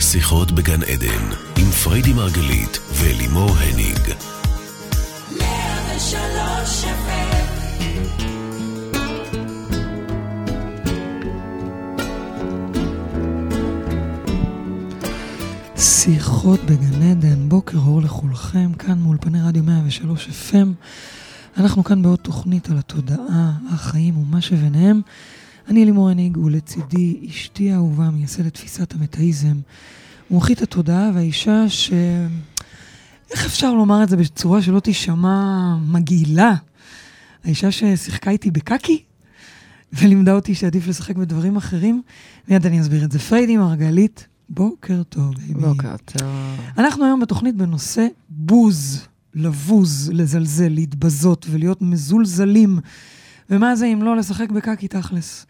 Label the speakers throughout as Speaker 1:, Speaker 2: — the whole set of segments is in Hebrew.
Speaker 1: שיחות בגן עדן, עם פריידי מרגלית ולימור הניג.
Speaker 2: שיחות בגן עדן, בוקר אור לכולכם, כאן מאולפני רדיו 103 FM. אנחנו כאן בעוד תוכנית על התודעה, החיים ומה שביניהם. אני לימור הנהיג ולצידי אשתי האהובה, מייסדת תפיסת המטאיזם, מומחית התודעה והאישה ש... איך אפשר לומר את זה בצורה שלא תישמע מגעילה? האישה ששיחקה איתי בקקי ולימדה אותי שעדיף לשחק בדברים אחרים. מיד אני אסביר את זה. פריידי מרגלית, בוקר טוב, בייבי.
Speaker 3: בוקר טוב.
Speaker 2: אנחנו היום בתוכנית בנושא בוז, לבוז, לזלזל, להתבזות ולהיות מזולזלים. ומה זה אם לא לשחק בקקי תכלס?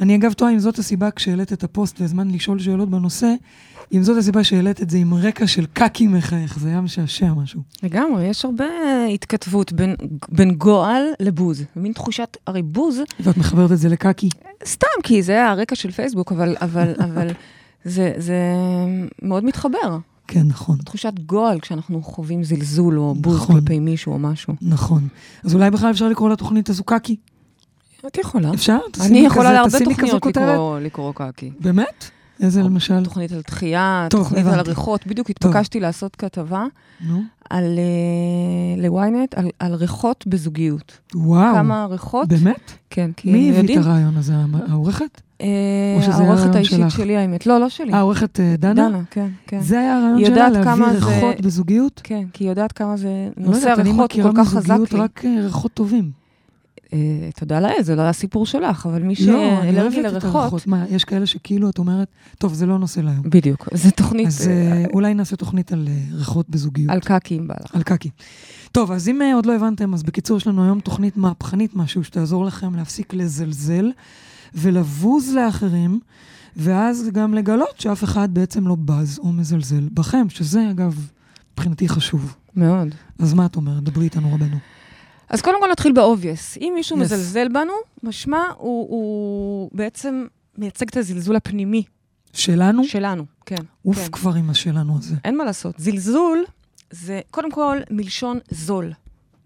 Speaker 2: אני אגב תוהה אם זאת הסיבה כשהעלית את הפוסט והזמן לשאול שאלות בנושא, אם זאת הסיבה שהעלית את זה עם רקע של קקי מחייך, זה היה משעשע משהו.
Speaker 3: לגמרי, יש הרבה התכתבות בין, בין גועל לבוז. מין תחושת, הרי בוז,
Speaker 2: ואת מחברת את זה לקקי.
Speaker 3: סתם, כי זה הרקע של פייסבוק, אבל, אבל, אבל זה, זה מאוד מתחבר.
Speaker 2: כן, נכון.
Speaker 3: תחושת גועל כשאנחנו חווים זלזול או בוז
Speaker 2: נכון.
Speaker 3: כלפי מישהו או משהו.
Speaker 2: נכון. אז אולי בכלל אפשר לקרוא לתוכנית הזו קקי?
Speaker 3: את יכולה.
Speaker 2: אפשר?
Speaker 3: אני
Speaker 2: תשימי
Speaker 3: יכולה
Speaker 2: כזה-
Speaker 3: להרבה
Speaker 2: תשימי כזו
Speaker 3: תוכניות
Speaker 2: כותרת.
Speaker 3: לקרוא, לא. לקרוא קקי.
Speaker 2: באמת? איזה למשל?
Speaker 3: תוכנית על דחייה,
Speaker 2: טוב,
Speaker 3: תוכנית על
Speaker 2: הבנתי.
Speaker 3: עריכות. בדיוק
Speaker 2: טוב.
Speaker 3: התבקשתי לעשות כתבה
Speaker 2: נו.
Speaker 3: על, אה, ל-ynet, על- על ריחות בזוגיות.
Speaker 2: וואו.
Speaker 3: כמה ריחות.
Speaker 2: באמת?
Speaker 3: כן, כי
Speaker 2: מי
Speaker 3: הם
Speaker 2: הביא
Speaker 3: יודעים.
Speaker 2: את הרעיון הזה? המ- העורכת?
Speaker 3: אה,
Speaker 2: או שזה היה
Speaker 3: העורכת
Speaker 2: הרעיון
Speaker 3: האישית
Speaker 2: שלך?
Speaker 3: שלי, האמת. לא, לא שלי.
Speaker 2: אה, העורכת אה, דנה?
Speaker 3: דנה, כן, כן.
Speaker 2: זה היה
Speaker 3: היא
Speaker 2: הרעיון שלה,
Speaker 3: יודעת כמה
Speaker 2: להביא
Speaker 3: זה-
Speaker 2: ריחות בזוגיות?
Speaker 3: כן, כי היא יודעת כמה זה...
Speaker 2: לא
Speaker 3: נושא
Speaker 2: יודעת,
Speaker 3: הריחות הוא כל כך חזק
Speaker 2: אני מכירה מזוגיות
Speaker 3: לי.
Speaker 2: רק אה, ריחות טובים.
Speaker 3: אה, תודה לאל, זה לא היה סיפור שלך, אבל מי
Speaker 2: לא, אני אוהבת
Speaker 3: שאלרגי
Speaker 2: את
Speaker 3: לריחות...
Speaker 2: הריחות. מה, יש כאלה שכאילו את אומרת, טוב, זה לא נושא להיום.
Speaker 3: בדיוק, זו תוכנית
Speaker 2: אז
Speaker 3: אה,
Speaker 2: אה, אולי נעשה תוכנית על אה, ריחות בזוגיות.
Speaker 3: על קקי אם בא לך.
Speaker 2: על קקי. טוב, אז אם אה, עוד לא הבנתם, אז בקיצור, יש לנו היום תוכנית מהפכנית משהו שתעזור לכם להפסיק לזלזל ולבוז לאחרים, ואז גם לגלות שאף אחד בעצם לא בז או מזלזל בכם, שזה אגב, מבחינתי חשוב.
Speaker 3: מאוד.
Speaker 2: אז מה את אומרת? דברי איתנו רבנו.
Speaker 3: אז קודם כל נתחיל באובייס. אם מישהו
Speaker 2: Yes.
Speaker 3: yes. מזלזל בנו, משמע הוא, הוא בעצם מייצג את הזלזול הפנימי
Speaker 2: שלנו?
Speaker 3: שלנו. כן,
Speaker 2: אוף
Speaker 3: כן.
Speaker 2: כבר עם השלנו הזה.
Speaker 3: אין מה לעשות. זלזול זה קודם כל מלשון זול.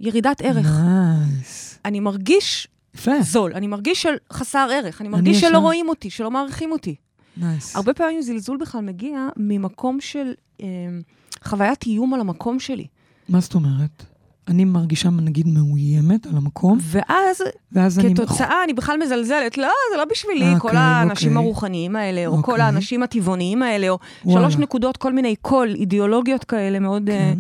Speaker 3: ירידת ערך.
Speaker 2: נייס.
Speaker 3: אני מרגיש
Speaker 2: יפה,
Speaker 3: זול, אני מרגיש של חסר ערך, אני
Speaker 2: אני
Speaker 3: מרגיש
Speaker 2: ישר-
Speaker 3: שלא רואים אותי, שלא מעריכים אותי.
Speaker 2: נייס.
Speaker 3: הרבה פעמים זלזול בכלל מגיע ממקום של אה, חוויית איום על המקום שלי.
Speaker 2: מה זאת אומרת? אני מרגישה, נגיד, מאוימת על המקום,
Speaker 3: ואז
Speaker 2: ואז אני...
Speaker 3: כתוצאה, אני בכלל מזלזלת, לא, זה לא בשבילי,
Speaker 2: אוקיי,
Speaker 3: כל האנשים
Speaker 2: אוקיי.
Speaker 3: הרוחניים האלה, או כל
Speaker 2: אוקיי.
Speaker 3: האנשים הטבעוניים האלה, או
Speaker 2: וואלה.
Speaker 3: שלוש נקודות, כל מיני קול, אידיאולוגיות כאלה מאוד... אה,
Speaker 2: כן.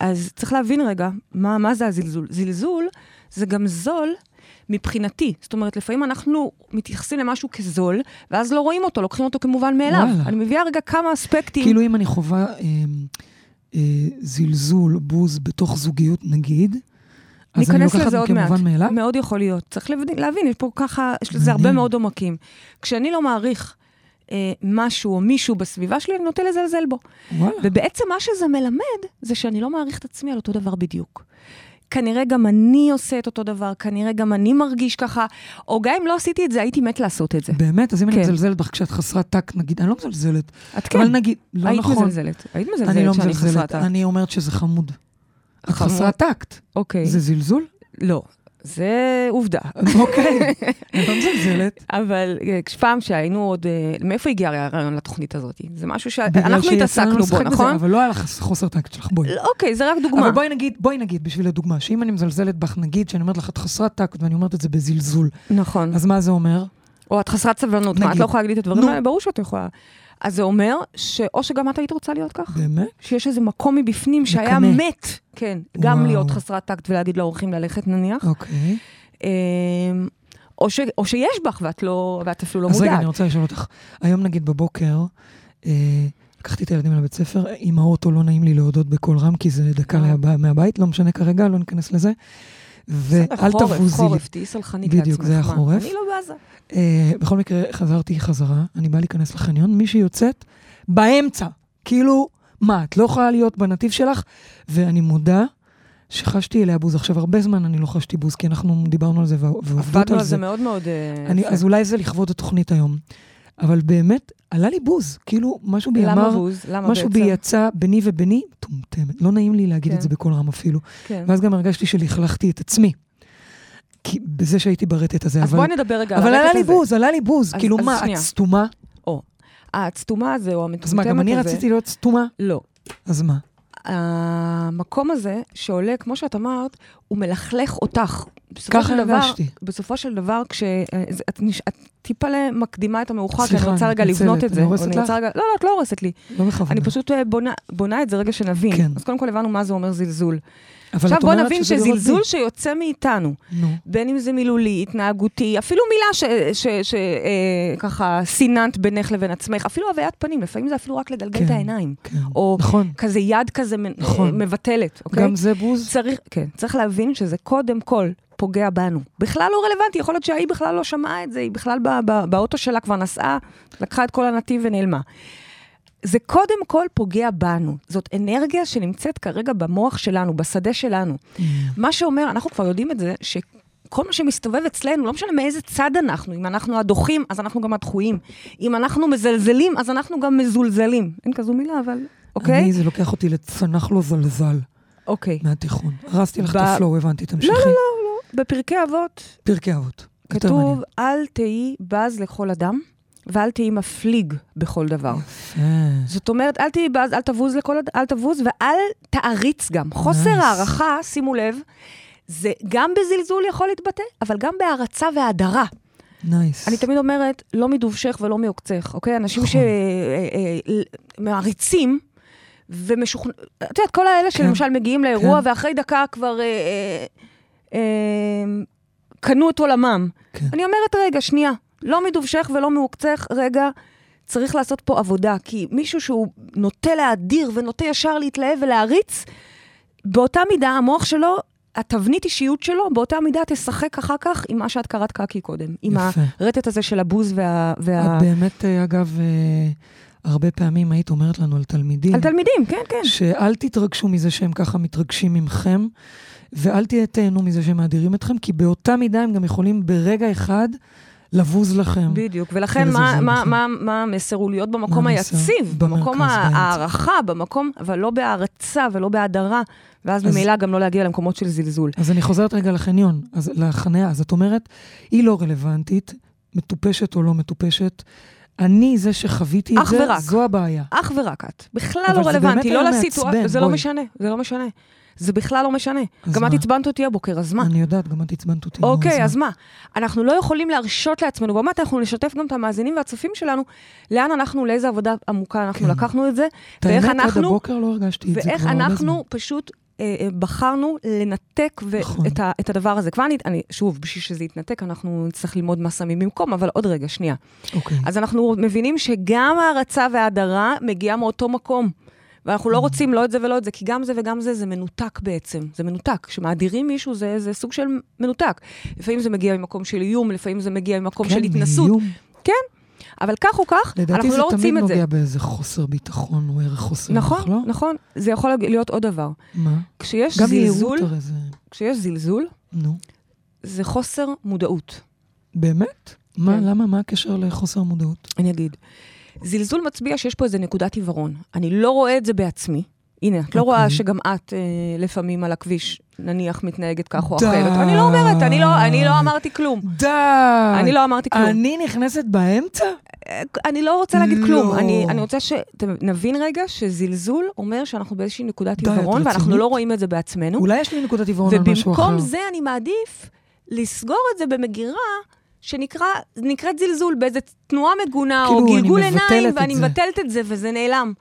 Speaker 3: אז צריך להבין רגע, מה, מה זה הזלזול? זלזול זה גם זול מבחינתי. זאת אומרת, לפעמים אנחנו מתייחסים למשהו כזול, ואז לא רואים אותו, לוקחים אותו כמובן מאליו.
Speaker 2: וואלה.
Speaker 3: אני מביאה רגע כמה אספקטים.
Speaker 2: כאילו אם אני חווה אה, אה, זלזול, בוז בתוך זוגיות נגיד, אז אני
Speaker 3: ניכנס
Speaker 2: לוקחת
Speaker 3: לזה עוד מעט.
Speaker 2: כמובן מאליו?
Speaker 3: מאוד יכול להיות. צריך להבין, להבין, יש פה ככה, יש לזה
Speaker 2: מעניין.
Speaker 3: הרבה מאוד עומקים. כשאני לא מעריך אה, משהו או מישהו בסביבה שלי, אני נוטה לזלזל בו.
Speaker 2: וואלה,
Speaker 3: ובעצם מה שזה מלמד, זה שאני לא מעריך את עצמי על אותו דבר בדיוק. כנראה גם אני עושה את אותו דבר, כנראה גם אני מרגיש ככה, או גם אם לא עשיתי את זה, הייתי מת לעשות את זה.
Speaker 2: באמת? אז אם אני
Speaker 3: כן.
Speaker 2: מזלזלת בך כשאת חסרת טאק, נגיד, אני לא מזלזלת,
Speaker 3: את כן,
Speaker 2: אבל נגיד, לא
Speaker 3: היית
Speaker 2: נכון,
Speaker 3: מזלזלת. היית
Speaker 2: אני לא
Speaker 3: מזלזלת שאני חסרת
Speaker 2: מזלזלת,
Speaker 3: טקט.
Speaker 2: אני אומרת שזה חמוד. את
Speaker 3: חמוד.
Speaker 2: חסרת טקט,
Speaker 3: אוקיי.
Speaker 2: זה זלזול?
Speaker 3: לא, זה עובדה.
Speaker 2: אוקיי, אני לא מזלזלת.
Speaker 3: אבל אה, פעם שהיינו עוד... אה, מאיפה הגיע הרי הרעיון לתוכנית הזאת? זה משהו
Speaker 2: בגלל
Speaker 3: שאנחנו
Speaker 2: שיצא לנו
Speaker 3: התעסקנו
Speaker 2: לשחק בזה,
Speaker 3: בו, נכון?
Speaker 2: אבל לא היה לך חוסר טקט שלך, בואי.
Speaker 3: לא, אוקיי, זה רק דוגמה.
Speaker 2: אבל בואי נגיד, בואי נגיד, בשביל הדוגמה, שאם אני מזלזלת בך, נגיד שאני אומרת לך, את חסרת טקט, ואני אומרת את זה בזלזול,
Speaker 3: נכון.
Speaker 2: אז מה זה אומר?
Speaker 3: או את חסרת סבלנות, מה, את
Speaker 2: נגיד.
Speaker 3: לא יכולה להגיד את הדברים
Speaker 2: נו.
Speaker 3: האלה? ברור שאת יכולה. אז זה אומר שאו שגם את היית רוצה להיות כך,
Speaker 2: באמת?
Speaker 3: שיש איזה מקום מבפנים שהיה
Speaker 2: מקנא.
Speaker 3: מת, כן, גם
Speaker 2: וואו.
Speaker 3: להיות חסרת טקט ולהגיד לאורחים ללכת נניח,
Speaker 2: אוקיי.
Speaker 3: אמ, או ש- או שיש בך ואת לא- ואת אפילו לא
Speaker 2: אז רגע, אני
Speaker 3: מודעת.
Speaker 2: רוצה לשאול אותך. היום נגיד בבוקר, אה, לקחתי את הילדים לבית ספר, עם האוטו לא נעים לי להודות בקול רם, כי זה דקה
Speaker 3: אה.
Speaker 2: להבא- מהבית, לא משנה כרגע, לא ניכנס לזה. ואל
Speaker 3: חורף,
Speaker 2: תבוזי לי.
Speaker 3: חורף, תהיי סלחנית לעצמך.
Speaker 2: בדיוק, זה
Speaker 3: מה?
Speaker 2: החורף.
Speaker 3: אני לא בעזה.
Speaker 2: אה, בכל מקרה, חזרתי חזרה, אני באה להיכנס לחניון, מי שיוצאת, באמצע. כאילו, מה, את לא יכולה להיות בנתיב שלך? ואני מודה שחשתי אליה בוז. עכשיו, הרבה זמן אני לא חשתי בוז, כי אנחנו דיברנו על זה וה- ועובדות
Speaker 3: עבדנו
Speaker 2: על
Speaker 3: על
Speaker 2: זה.
Speaker 3: זה מאוד מאוד... אה,
Speaker 2: אני,
Speaker 3: יפה.
Speaker 2: אז אולי זה לכבוד התוכנית היום. אבל באמת, עלה לי בוז, כאילו, משהו בי
Speaker 3: למה
Speaker 2: אמר,
Speaker 3: בוז? למה בעצם?
Speaker 2: משהו בי יצא ביני וביני, מטומטמת. לא נעים לי להגיד
Speaker 3: כן.
Speaker 2: את זה בקול רם אפילו.
Speaker 3: כן.
Speaker 2: ואז גם הרגשתי שלכלכתי את עצמי. כי בזה שהייתי ברטט הזה,
Speaker 3: אז
Speaker 2: אבל...
Speaker 3: בואי נדבר רגע על
Speaker 2: אבל
Speaker 3: הרטט
Speaker 2: עלה לי
Speaker 3: הזה.
Speaker 2: בוז, עלה לי בוז.
Speaker 3: אז-
Speaker 2: כאילו,
Speaker 3: אז
Speaker 2: מה, את
Speaker 3: שנייה.
Speaker 2: סתומה?
Speaker 3: או, הסתומה אה, הזה, או המטומטמת
Speaker 2: אז
Speaker 3: הזה.
Speaker 2: מה, גם אני רציתי להיות סתומה?
Speaker 3: לא.
Speaker 2: אז מה?
Speaker 3: המקום הזה שעולה, כמו שאת אמרת, הוא מלכלך אותך. בסופו
Speaker 2: ככה
Speaker 3: של דבר-
Speaker 2: הרגשתי.
Speaker 3: בסופו של דבר, כשאת את טיפה מקדימה את המאוחר, כי
Speaker 2: סליחה,
Speaker 3: אני רוצה
Speaker 2: אני
Speaker 3: רגע לבנות
Speaker 2: מתנצלת.
Speaker 3: את זה.
Speaker 2: אני הורסת
Speaker 3: או
Speaker 2: לך?
Speaker 3: רוצה רגע- לא, לא, את לא הורסת לי.
Speaker 2: לא בכוונה.
Speaker 3: אני פשוט אה, בונה- בונה את זה רגע שנבין.
Speaker 2: כן.
Speaker 3: אז קודם כל הבנו מה זה אומר זלזול.
Speaker 2: אבל
Speaker 3: עכשיו
Speaker 2: את
Speaker 3: בוא
Speaker 2: אומרת
Speaker 3: נבין
Speaker 2: שזה לא לראות
Speaker 3: שזלזול
Speaker 2: בי.
Speaker 3: שיוצא מאיתנו,
Speaker 2: נו.
Speaker 3: בין אם זה מילולי, התנהגותי, אפילו מילה שככה אה, סיננת בינך לבין עצמך, אפילו הוויית פנים, לפעמים זה אפילו רק לגלגל את
Speaker 2: כן,
Speaker 3: העיניים.
Speaker 2: כן.
Speaker 3: או
Speaker 2: נכון.
Speaker 3: כזה יד כזה מ-
Speaker 2: נכון.
Speaker 3: אה, מבטלת, אוקיי?
Speaker 2: גם זה בוז?
Speaker 3: צריך, כן, צריך להבין שזה קודם כל פוגע בנו. בכלל לא רלוונטי, יכול להיות שהיא בכלל לא שמעה את זה, היא בכלל ב- ב- באוטו שלה כבר נסעה, לקחה את כל הנתיב ונעלמה. זה קודם כל פוגע בנו. זאת אנרגיה שנמצאת כרגע במוח שלנו, בשדה שלנו. מה שאומר, אנחנו כבר יודעים את זה, שכל מה שמסתובב אצלנו, לא משנה מאיזה צד אנחנו, אם אנחנו הדוחים, אז אנחנו גם הדחויים. אם אנחנו מזלזלים, אז אנחנו גם מזולזלים. אין כזו מילה, אבל... אוקיי?
Speaker 2: אני, זה לוקח אותי לצנח לו זלזל
Speaker 3: אוקיי.
Speaker 2: מהתיכון. הרסתי לך את
Speaker 3: ב-
Speaker 2: הפלואו, הבנתי, תמשיכי.
Speaker 3: לא, לא, לא. בפרקי אבות,
Speaker 2: פרקי אבות. יותר
Speaker 3: כתוב,
Speaker 2: מעניין.
Speaker 3: אל תהי בז לכל אדם, ואל תהי מפליג בכל דבר.
Speaker 2: אה,
Speaker 3: זאת אומרת, אל תהי בז, אל תבוז לכל אדם, אל תבוז, ואל תעריץ גם. חוסר
Speaker 2: Nice.
Speaker 3: הערכה, שימו לב, זה גם בזלזול יכול להתבטא, אבל גם בהערצה וההדרה.
Speaker 2: נייס.
Speaker 3: אני תמיד אומרת, לא מדובשך ולא מעוקצך, אוקיי? אנשים
Speaker 2: נכון.
Speaker 3: שמעריצים ומשוכנעים, את יודעת, כל האלה שלמשל מגיעים לאירוע,
Speaker 2: כן.
Speaker 3: ואחרי דקה כבר אה, אה, אה, קנו את עולמם.
Speaker 2: כן.
Speaker 3: אני אומרת, רגע, שנייה, לא מדובשך ולא מעוקצך, רגע, צריך לעשות פה עבודה, כי מישהו שהוא נוטה להדיר ונוטה ישר להתלהב ולהריץ, באותה מידה המוח שלו... התבנית אישיות שלו, באותה מידה תשחק אחר כך עם מה שאת קראת קקי קודם. עם ה-
Speaker 2: יפה.
Speaker 3: הרטט הזה של הבוז וה... וה...
Speaker 2: את באמת, אה, אגב, אה, הרבה פעמים היית אומרת לנו על תלמידים,
Speaker 3: על תלמידים, כן, כן.
Speaker 2: שאל תתרגשו מזה שהם ככה מתרגשים ממכם, ואל תהיה תהנו מזה שהם מאדירים אתכם, כי באותה מידה הם גם יכולים ברגע אחד לבוז לכם.
Speaker 3: בדיוק, ולכן
Speaker 2: זה
Speaker 3: מה,
Speaker 2: זה
Speaker 3: מה,
Speaker 2: נכון.
Speaker 3: מה, מה המסר הוא להיות במקום
Speaker 2: מה המסר?
Speaker 3: היציב, במקום
Speaker 2: במרכז, באמצע.
Speaker 3: ההערכה, במקום, אבל לא בהערצה ולא בהדרה, ואז
Speaker 2: אז-
Speaker 3: ממילא גם לא להגיע למקומות של זלזול.
Speaker 2: אז אני חוזרת רגע לחניון, אז לחניה, אז את אומרת, היא לא רלוונטית, מטופשת או לא מטופשת. אני זה שחוויתי את
Speaker 3: אך
Speaker 2: זה,
Speaker 3: ורק.
Speaker 2: זו הבעיה.
Speaker 3: אך ורק את. בכלל
Speaker 2: אבל
Speaker 3: לא
Speaker 2: זה
Speaker 3: רלוונטי,
Speaker 2: באמת
Speaker 3: לא
Speaker 2: היה
Speaker 3: לסיטואציה,
Speaker 2: מעצבן,
Speaker 3: זה לא
Speaker 2: בואי.
Speaker 3: משנה, זה לא משנה. זה בכלל לא משנה.
Speaker 2: אז
Speaker 3: גם את
Speaker 2: מה?
Speaker 3: עצבנת אותי הבוקר, אז מה?
Speaker 2: אני יודעת, גם את עצבנת אותי. נו,
Speaker 3: אוקיי, אז
Speaker 2: מה?
Speaker 3: מה? אנחנו לא יכולים להרשות לעצמנו, באמת אנחנו נשתף גם את המאזינים והצופים שלנו, לאן אנחנו, לאיזה עבודה עמוקה אנחנו
Speaker 2: כן.
Speaker 3: לקחנו את זה,
Speaker 2: את
Speaker 3: ואיך
Speaker 2: האמת, עד
Speaker 3: אנחנו-
Speaker 2: הבוקר לא הרגשתי את זה כבר
Speaker 3: ואיך
Speaker 2: הרבה זמן.
Speaker 3: אנחנו פשוט אה, אה, בחרנו לנתק ו-
Speaker 2: נכון.
Speaker 3: את, ה- את הדבר הזה. כבר אני, אני, שוב, בשביל שזה יתנתק, אנחנו נצטרך ללמוד מה שמים במקום, אבל עוד רגע, שנייה.
Speaker 2: אוקיי.
Speaker 3: אז אנחנו מבינים שגם ההערצה וההדרה מגיעה מאותו מקום. ואנחנו לא
Speaker 2: Mm.
Speaker 3: רוצים לא את זה ולא את זה, כי גם זה וגם זה, זה מנותק בעצם. זה מנותק. כשמאדירים מישהו, זה, זה סוג של מנותק. לפעמים זה מגיע ממקום של איום, לפעמים זה מגיע ממקום של התנסות. כן,
Speaker 2: איום.
Speaker 3: אבל כך או כך,
Speaker 2: כן, לדעתי
Speaker 3: אנחנו
Speaker 2: זה
Speaker 3: לא רוצים
Speaker 2: תמיד
Speaker 3: את זה.
Speaker 2: נוגע באיזה חוסר ביטחון או ערך חוסר ערך,
Speaker 3: נכון,
Speaker 2: לא?
Speaker 3: נכון. זה יכול להיות עוד דבר.
Speaker 2: מה?
Speaker 3: כשיש
Speaker 2: גם
Speaker 3: זלזול,
Speaker 2: יהירות הרי זה...
Speaker 3: כשיש זלזול,
Speaker 2: נו.
Speaker 3: זה חוסר מודעות.
Speaker 2: באמת? מה,
Speaker 3: כן.
Speaker 2: למה, מה הקשר לחוסר מודעות?
Speaker 3: אני אגיד. זלזול מצביע שיש פה איזה נקודת עיוורון. אני לא רואה את זה בעצמי. הנה, את לא
Speaker 2: אוקיי.
Speaker 3: רואה שגם את אה, לפעמים על הכביש, נניח, מתנהגת כך או
Speaker 2: די.
Speaker 3: אחרת. אני לא אומרת, אני לא, אני לא אמרתי כלום.
Speaker 2: די!
Speaker 3: אני לא אמרתי כלום.
Speaker 2: אני נכנסת באמצע?
Speaker 3: אה, אני לא רוצה להגיד כלום.
Speaker 2: לא.
Speaker 3: אני, אני רוצה שנבין רגע שזלזול אומר שאנחנו באיזושהי
Speaker 2: די,
Speaker 3: נקודת
Speaker 2: את
Speaker 3: עיוורון, ואנחנו
Speaker 2: רצינית?
Speaker 3: לא רואים את זה בעצמנו.
Speaker 2: אולי יש לי נקודת עיוורון על משהו אחר.
Speaker 3: ובמקום זה אני מעדיף לסגור את זה במגירה שנקראת זלזול, באיזה תנועה מגונה
Speaker 2: כאילו,
Speaker 3: או
Speaker 2: אני
Speaker 3: גלגול
Speaker 2: מבטלת
Speaker 3: עיניים,
Speaker 2: את
Speaker 3: ואני
Speaker 2: זה.
Speaker 3: מבטלת את זה וזה נעלם.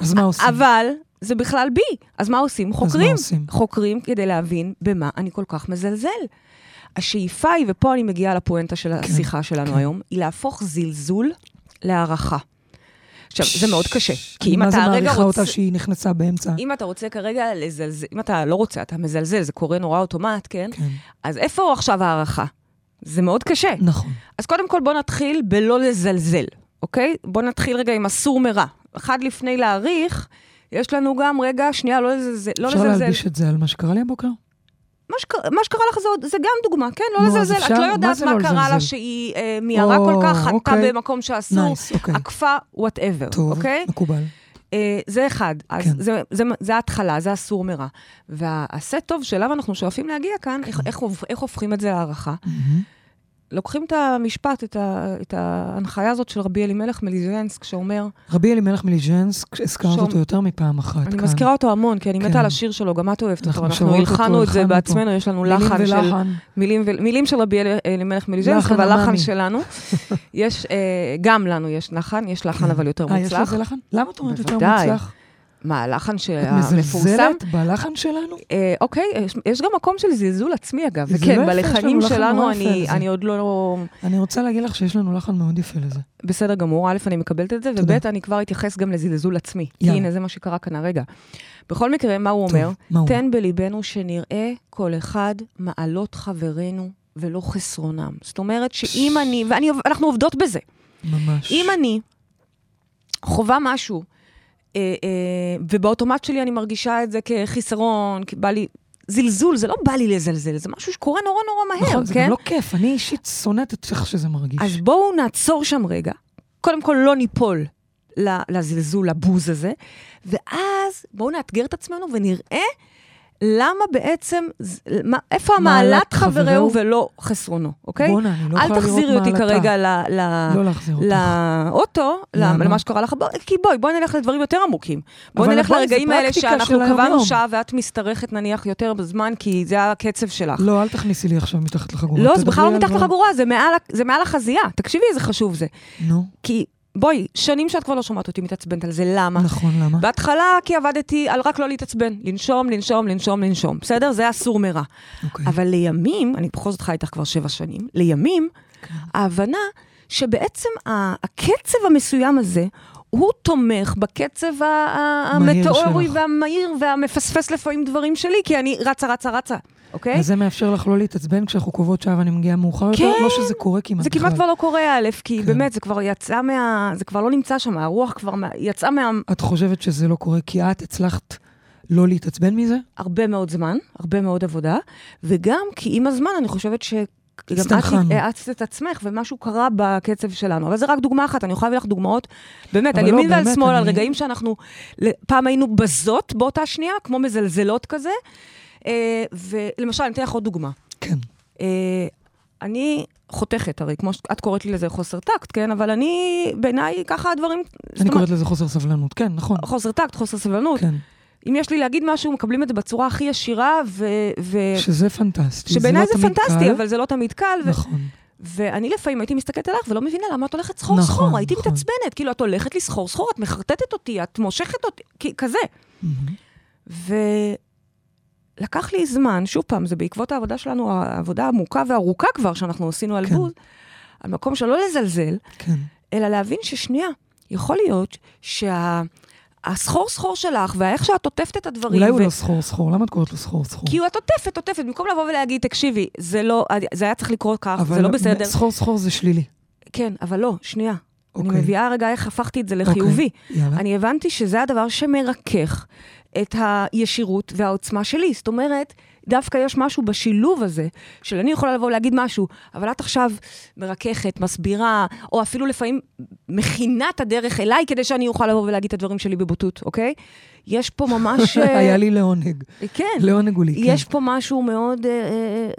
Speaker 2: אז מה עושים?
Speaker 3: אה, אבל זה בכלל בי. אז מה עושים? חוקרים.
Speaker 2: עושים?
Speaker 3: חוקרים כדי להבין במה אני כל כך מזלזל. השאיפה היא, ופה אני מגיעה לפואנטה של השיחה שלנו
Speaker 2: כן.
Speaker 3: היום, היא להפוך זלזול להערכה. עכשיו, זה מאוד קשה, כי
Speaker 2: אני
Speaker 3: אם אתה
Speaker 2: מה זה
Speaker 3: הרגע
Speaker 2: מעריכה
Speaker 3: רוצה...
Speaker 2: אותה שהיא נכנסה באמצע?
Speaker 3: אם אתה רוצה כרגע לזלזל, אם אתה לא רוצה, אתה מזלזל, זה קורה נורא אוטומט, כן?
Speaker 2: כן,
Speaker 3: אז איפה עכשיו הערכה? זה מאוד קשה.
Speaker 2: נכון.
Speaker 3: אז קודם כל בוא נתחיל בלא לזלזל, אוקיי? בוא נתחיל רגע עם הסור מרע. אחד לפני להעריך, יש לנו גם רגע, שנייה, לא לזלזל. לא
Speaker 2: אפשר
Speaker 3: לזלזל.
Speaker 2: להלביש את זה על מה שקרה לי הבוקר?
Speaker 3: מה, שקר, מה שקרה לך זה, עוד- זה גם דוגמה, כן? לא
Speaker 2: נו, אז
Speaker 3: לזלזל.
Speaker 2: אפשר-
Speaker 3: את לא
Speaker 2: מה
Speaker 3: יודעת
Speaker 2: זה
Speaker 3: מה,
Speaker 2: לא
Speaker 3: קרה
Speaker 2: לזלזל?
Speaker 3: לה שהיא אה, מיהרה
Speaker 2: או,
Speaker 3: כל כך, חנתה
Speaker 2: אוקיי.
Speaker 3: במקום שאסור,
Speaker 2: נייס, אוקיי.
Speaker 3: עקפה, וואטאבר,
Speaker 2: טוב,
Speaker 3: אוקיי?
Speaker 2: מקובל.
Speaker 3: אה, זה אחד, אז
Speaker 2: כן.
Speaker 3: זה, זה, זה ההתחלה, זה הסור מרע. והעשה טוב שאליו אנחנו שואפים להגיע כאן, איך, איך, הופ- איך הופכים את זה להערכה?
Speaker 2: מהמם.
Speaker 3: לוקחים את המשפט, את, ה, את ההנחיה הזאת של רבי אלימלך מליז'נסק, שאומר,
Speaker 2: רבי אלימלך מליז'נסק, הזכרת
Speaker 3: שום.
Speaker 2: אותו יותר מפעם אחת
Speaker 3: אני
Speaker 2: כאן.
Speaker 3: מזכירה אותו המון, כי אני
Speaker 2: כן.
Speaker 3: מתה על השיר שלו, גם את אוהבת
Speaker 2: אנחנו
Speaker 3: אותו, אנחנו
Speaker 2: שרות אותו,
Speaker 3: הלחנו את זה
Speaker 2: הלחנו אותו.
Speaker 3: בעצמנו, יש לנו
Speaker 2: מילים
Speaker 3: לחן של...
Speaker 2: ולחן.
Speaker 3: מילים, ו... מילים של רבי אל- אלימלך מליז'נסק,
Speaker 2: לחן
Speaker 3: אבל
Speaker 2: עממי.
Speaker 3: לחן שלנו. יש, אה, גם לנו יש לחן, יש לחן אבל יותר
Speaker 2: אה, יש
Speaker 3: מוצלח.
Speaker 2: לזה לחן? למה את אומרת יותר
Speaker 3: בוודאי. אה,
Speaker 2: מוצלח?
Speaker 3: מה, הלחן
Speaker 2: את
Speaker 3: שהמפורסם?
Speaker 2: מזלזלת בלחן שלנו?
Speaker 3: אה, אוקיי, יש, יש גם מקום של זלזול עצמי אגב,
Speaker 2: זלזול
Speaker 3: וכן,
Speaker 2: לא יפה, יש
Speaker 3: בלחנים
Speaker 2: לנו לחן
Speaker 3: שלנו
Speaker 2: נורא יפה
Speaker 3: אני,
Speaker 2: לזה.
Speaker 3: אני עוד לא...
Speaker 2: אני רוצה להגיד לך שיש לנו לחן מאוד יפה לזה.
Speaker 3: בסדר גמור, א', אני מקבלת את זה,
Speaker 2: תודה.
Speaker 3: וב', אני כבר אתייחס גם לזלזול עצמי. כי
Speaker 2: יאללה.
Speaker 3: הנה, זה מה שקרה כאן הרגע. בכל מקרה, מה הוא
Speaker 2: טוב,
Speaker 3: אומר?
Speaker 2: מה הוא
Speaker 3: תן בליבנו שנראה כל אחד מעלות חברינו ולא חסרונם. זאת אומרת שאם אני, ואנחנו עובדות בזה,
Speaker 2: ממש.
Speaker 3: אם אני חווה משהו, אה, אה, ובאוטומט שלי אני מרגישה את זה כחיסרון, כי בא לי... זלזול, זה לא בא לי לזלזל, זה משהו שקורה נורא נורא מהר,
Speaker 2: נכון, זה
Speaker 3: כן?
Speaker 2: גם לא כיף, אני אישית שונאת את איך שזה מרגיש.
Speaker 3: אז בואו נעצור שם רגע. קודם כל, לא ניפול ל- לזלזול, לבוז הזה, ואז בואו נאתגר את עצמנו ונראה למה בעצם, ז- מה, איפה
Speaker 2: מעלת
Speaker 3: המעלת חברהו
Speaker 2: חברהו?
Speaker 3: ולא חסרונו, אוקיי?
Speaker 2: בואנה, אני לא יכולה
Speaker 3: אל
Speaker 2: לראות
Speaker 3: תחזירי אותי
Speaker 2: מעלתה.
Speaker 3: כרגע ל... ל-
Speaker 2: לא להחזיר אותך.
Speaker 3: לאוטו, ל-
Speaker 2: למה?
Speaker 3: למה שקרה לך, בוא- כי בואי, בואי נלך לדברים יותר עמוקים. בואי
Speaker 2: אבל
Speaker 3: נלך
Speaker 2: בואי, זה
Speaker 3: לרגעים האלה
Speaker 2: פרקטיקה של
Speaker 3: שאנחנו קבענו
Speaker 2: היום-יום.
Speaker 3: שעה ואת משתרכת נניח יותר בזמן, כי זה הקצב שלך.
Speaker 2: לא, אל תכניסי לי עכשיו מתחת לחגורה.
Speaker 3: לא, זה
Speaker 2: תדברי
Speaker 3: בכלל
Speaker 2: על
Speaker 3: לא מתחת
Speaker 2: דברים-
Speaker 3: לחגורה, זה מעל ה- זה מעל החזייה. תקשיבי איזה חשוב זה.
Speaker 2: נו,
Speaker 3: כי, בואי, שנים שאת כבר לא שומעת אותי מתעצבנת על זה, למה?
Speaker 2: נכון, למה?
Speaker 3: בהתחלה כי עבדתי על רק לא להתעצבן, לנשום, לנשום, לנשום, לנשום, בסדר? זה אסור מרע.
Speaker 2: אוקיי.
Speaker 3: אבל לימים, אני בכל זאת חי איתך כבר שבע שנים, לימים,
Speaker 2: כן.
Speaker 3: ההבנה שבעצם ה- הקצב המסוים הזה, הוא תומך בקצב ה- ה-
Speaker 2: מהיר
Speaker 3: המטאורי
Speaker 2: שלך.
Speaker 3: והמהיר והמפספס לפעמים דברים שלי, כי אני רצה, רצה, רצה, אוקיי?
Speaker 2: אז זה מאפשר לך לא להתעצבן כשאנחנו קובעות שעה ואני מגיעה מאוחר יותר?
Speaker 3: כן.
Speaker 2: לא שזה קורה כמעט
Speaker 3: זה
Speaker 2: בכלל.
Speaker 3: כמעט כבר לא קורה, א', כי
Speaker 2: כן.
Speaker 3: באמת, זה כבר יצא מה... זה כבר לא נמצא שם, הרוח כבר מה- יצאה מה...
Speaker 2: את חושבת שזה לא קורה כי את הצלחת לא להתעצבן מזה?
Speaker 3: הרבה מאוד זמן, הרבה מאוד עבודה, וגם כי עם הזמן אני חושבת ש... גם
Speaker 2: הסתנכרנו.
Speaker 3: את האצת את עצמך, ומשהו קרה בקצב שלנו. אבל זו רק דוגמה אחת, אני יכולה להביא לך דוגמאות, באמת,
Speaker 2: אבל
Speaker 3: על
Speaker 2: לא,
Speaker 3: ימין ועל
Speaker 2: באמת,
Speaker 3: שמאל, על
Speaker 2: אני-
Speaker 3: רגעים שאנחנו, ל- פעם היינו בזות באותה שנייה, כמו מזלזלות כזה. אה, ולמשל, אני אתן לך עוד דוגמה.
Speaker 2: כן.
Speaker 3: אה, אני חותכת, הרי כמו שאת קוראת לי לזה חוסר טקט, כן? אבל אני, בעיניי, ככה הדברים... זאת
Speaker 2: אני
Speaker 3: אומרת,
Speaker 2: קוראת לזה חוסר סבלנות. כן, נכון.
Speaker 3: חוסר טקט, חוסר סבלנות.
Speaker 2: כן.
Speaker 3: אם יש לי להגיד משהו, מקבלים את זה בצורה הכי ישירה, ו... ו...
Speaker 2: שזה פנטסטי.
Speaker 3: אה, שבעיניי
Speaker 2: לא
Speaker 3: זה
Speaker 2: תמיד
Speaker 3: פנטסטי,
Speaker 2: קל.
Speaker 3: אבל זה לא תמיד קל. ו...
Speaker 2: נכון.
Speaker 3: ואני לפעמים הייתי מסתכלת עליך ולא מבינה למה את הולכת סחור
Speaker 2: נכון,
Speaker 3: סחור, הייתי
Speaker 2: נכון.
Speaker 3: מתעצבנת, כאילו את הולכת לי סחור סחור, את מחרטטת אותי, את מושכת אותי, כי- כזה.
Speaker 2: מהמם.
Speaker 3: ולקח לי זמן, שוב פעם, זה בעקבות העבודה שלנו, העבודה העמוקה והארוכה כבר שאנחנו עשינו על
Speaker 2: כן.
Speaker 3: בוז, על מקום שלא לזלזל,
Speaker 2: כן.
Speaker 3: אלא להבין ששנייה, יכול להיות שה... הסחור סחור שלך, ואיך שאת עוטפת את הדברים,
Speaker 2: אולי הוא
Speaker 3: ו-
Speaker 2: לא סחור סחור, למה את קוראת לו סחור סחור?
Speaker 3: כי את עוטפת, עוטפת, במקום לבוא ולהגיד, תקשיבי, זה לא, זה היה צריך לקרות כך,
Speaker 2: אבל
Speaker 3: זה לא בסדר.
Speaker 2: סחור סחור זה שלילי.
Speaker 3: כן, אבל לא, שנייה. אני
Speaker 2: אוקיי.
Speaker 3: מביאה רגע איך הפכתי את זה לחיובי.
Speaker 2: יאללה.
Speaker 3: אני הבנתי שזה הדבר שמרכך את הישירות והעוצמה שלי. זאת אומרת, דווקא יש משהו בשילוב הזה, של אני יכולה לבוא ולהגיד משהו, אבל את עכשיו מרככת, מסבירה, או אפילו לפעמים מכינה את הדרך אליי כדי שאני אוכל לבוא ולהגיד את הדברים שלי בבוטות, אוקיי? יש פה ממש... אה,
Speaker 2: היה לי לעונג.
Speaker 3: כן.
Speaker 2: לעונג הוא לי, כן.
Speaker 3: יש פה משהו מאוד... אה, אה,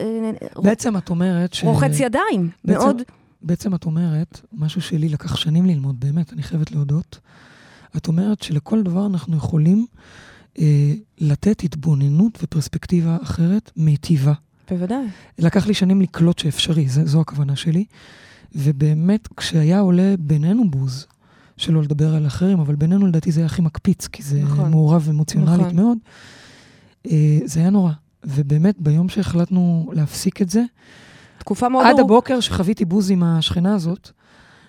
Speaker 3: אה, אה,
Speaker 2: בעצם את אומרת ש...
Speaker 3: רוחץ ידיים,
Speaker 2: בעצם-
Speaker 3: מאוד.
Speaker 2: בעצם את אומרת, משהו שלי לקח שנים ללמוד, באמת, אני חייבת להודות. את אומרת שלכל דבר אנחנו יכולים אה, לתת התבוננות ופרספקטיבה אחרת מיטיבה.
Speaker 3: בוודאי.
Speaker 2: לקח לי שנים לקלוט שאפשרי, זה, זו הכוונה שלי. ובאמת, כשהיה עולה בינינו בוז, שלא לדבר על אחרים, אבל בינינו לדעתי זה היה הכי מקפיץ, כי זה נכון.
Speaker 3: נכון.
Speaker 2: מעורב אמוציונלית נכון.
Speaker 3: נכון.
Speaker 2: מאוד, אה, זה היה נורא. ובאמת, ביום שהחלטנו להפסיק את זה,
Speaker 3: תקופה מאוד
Speaker 2: עד
Speaker 3: ארוכה.
Speaker 2: הבוקר שחוויתי בוז עם השכנה הזאת,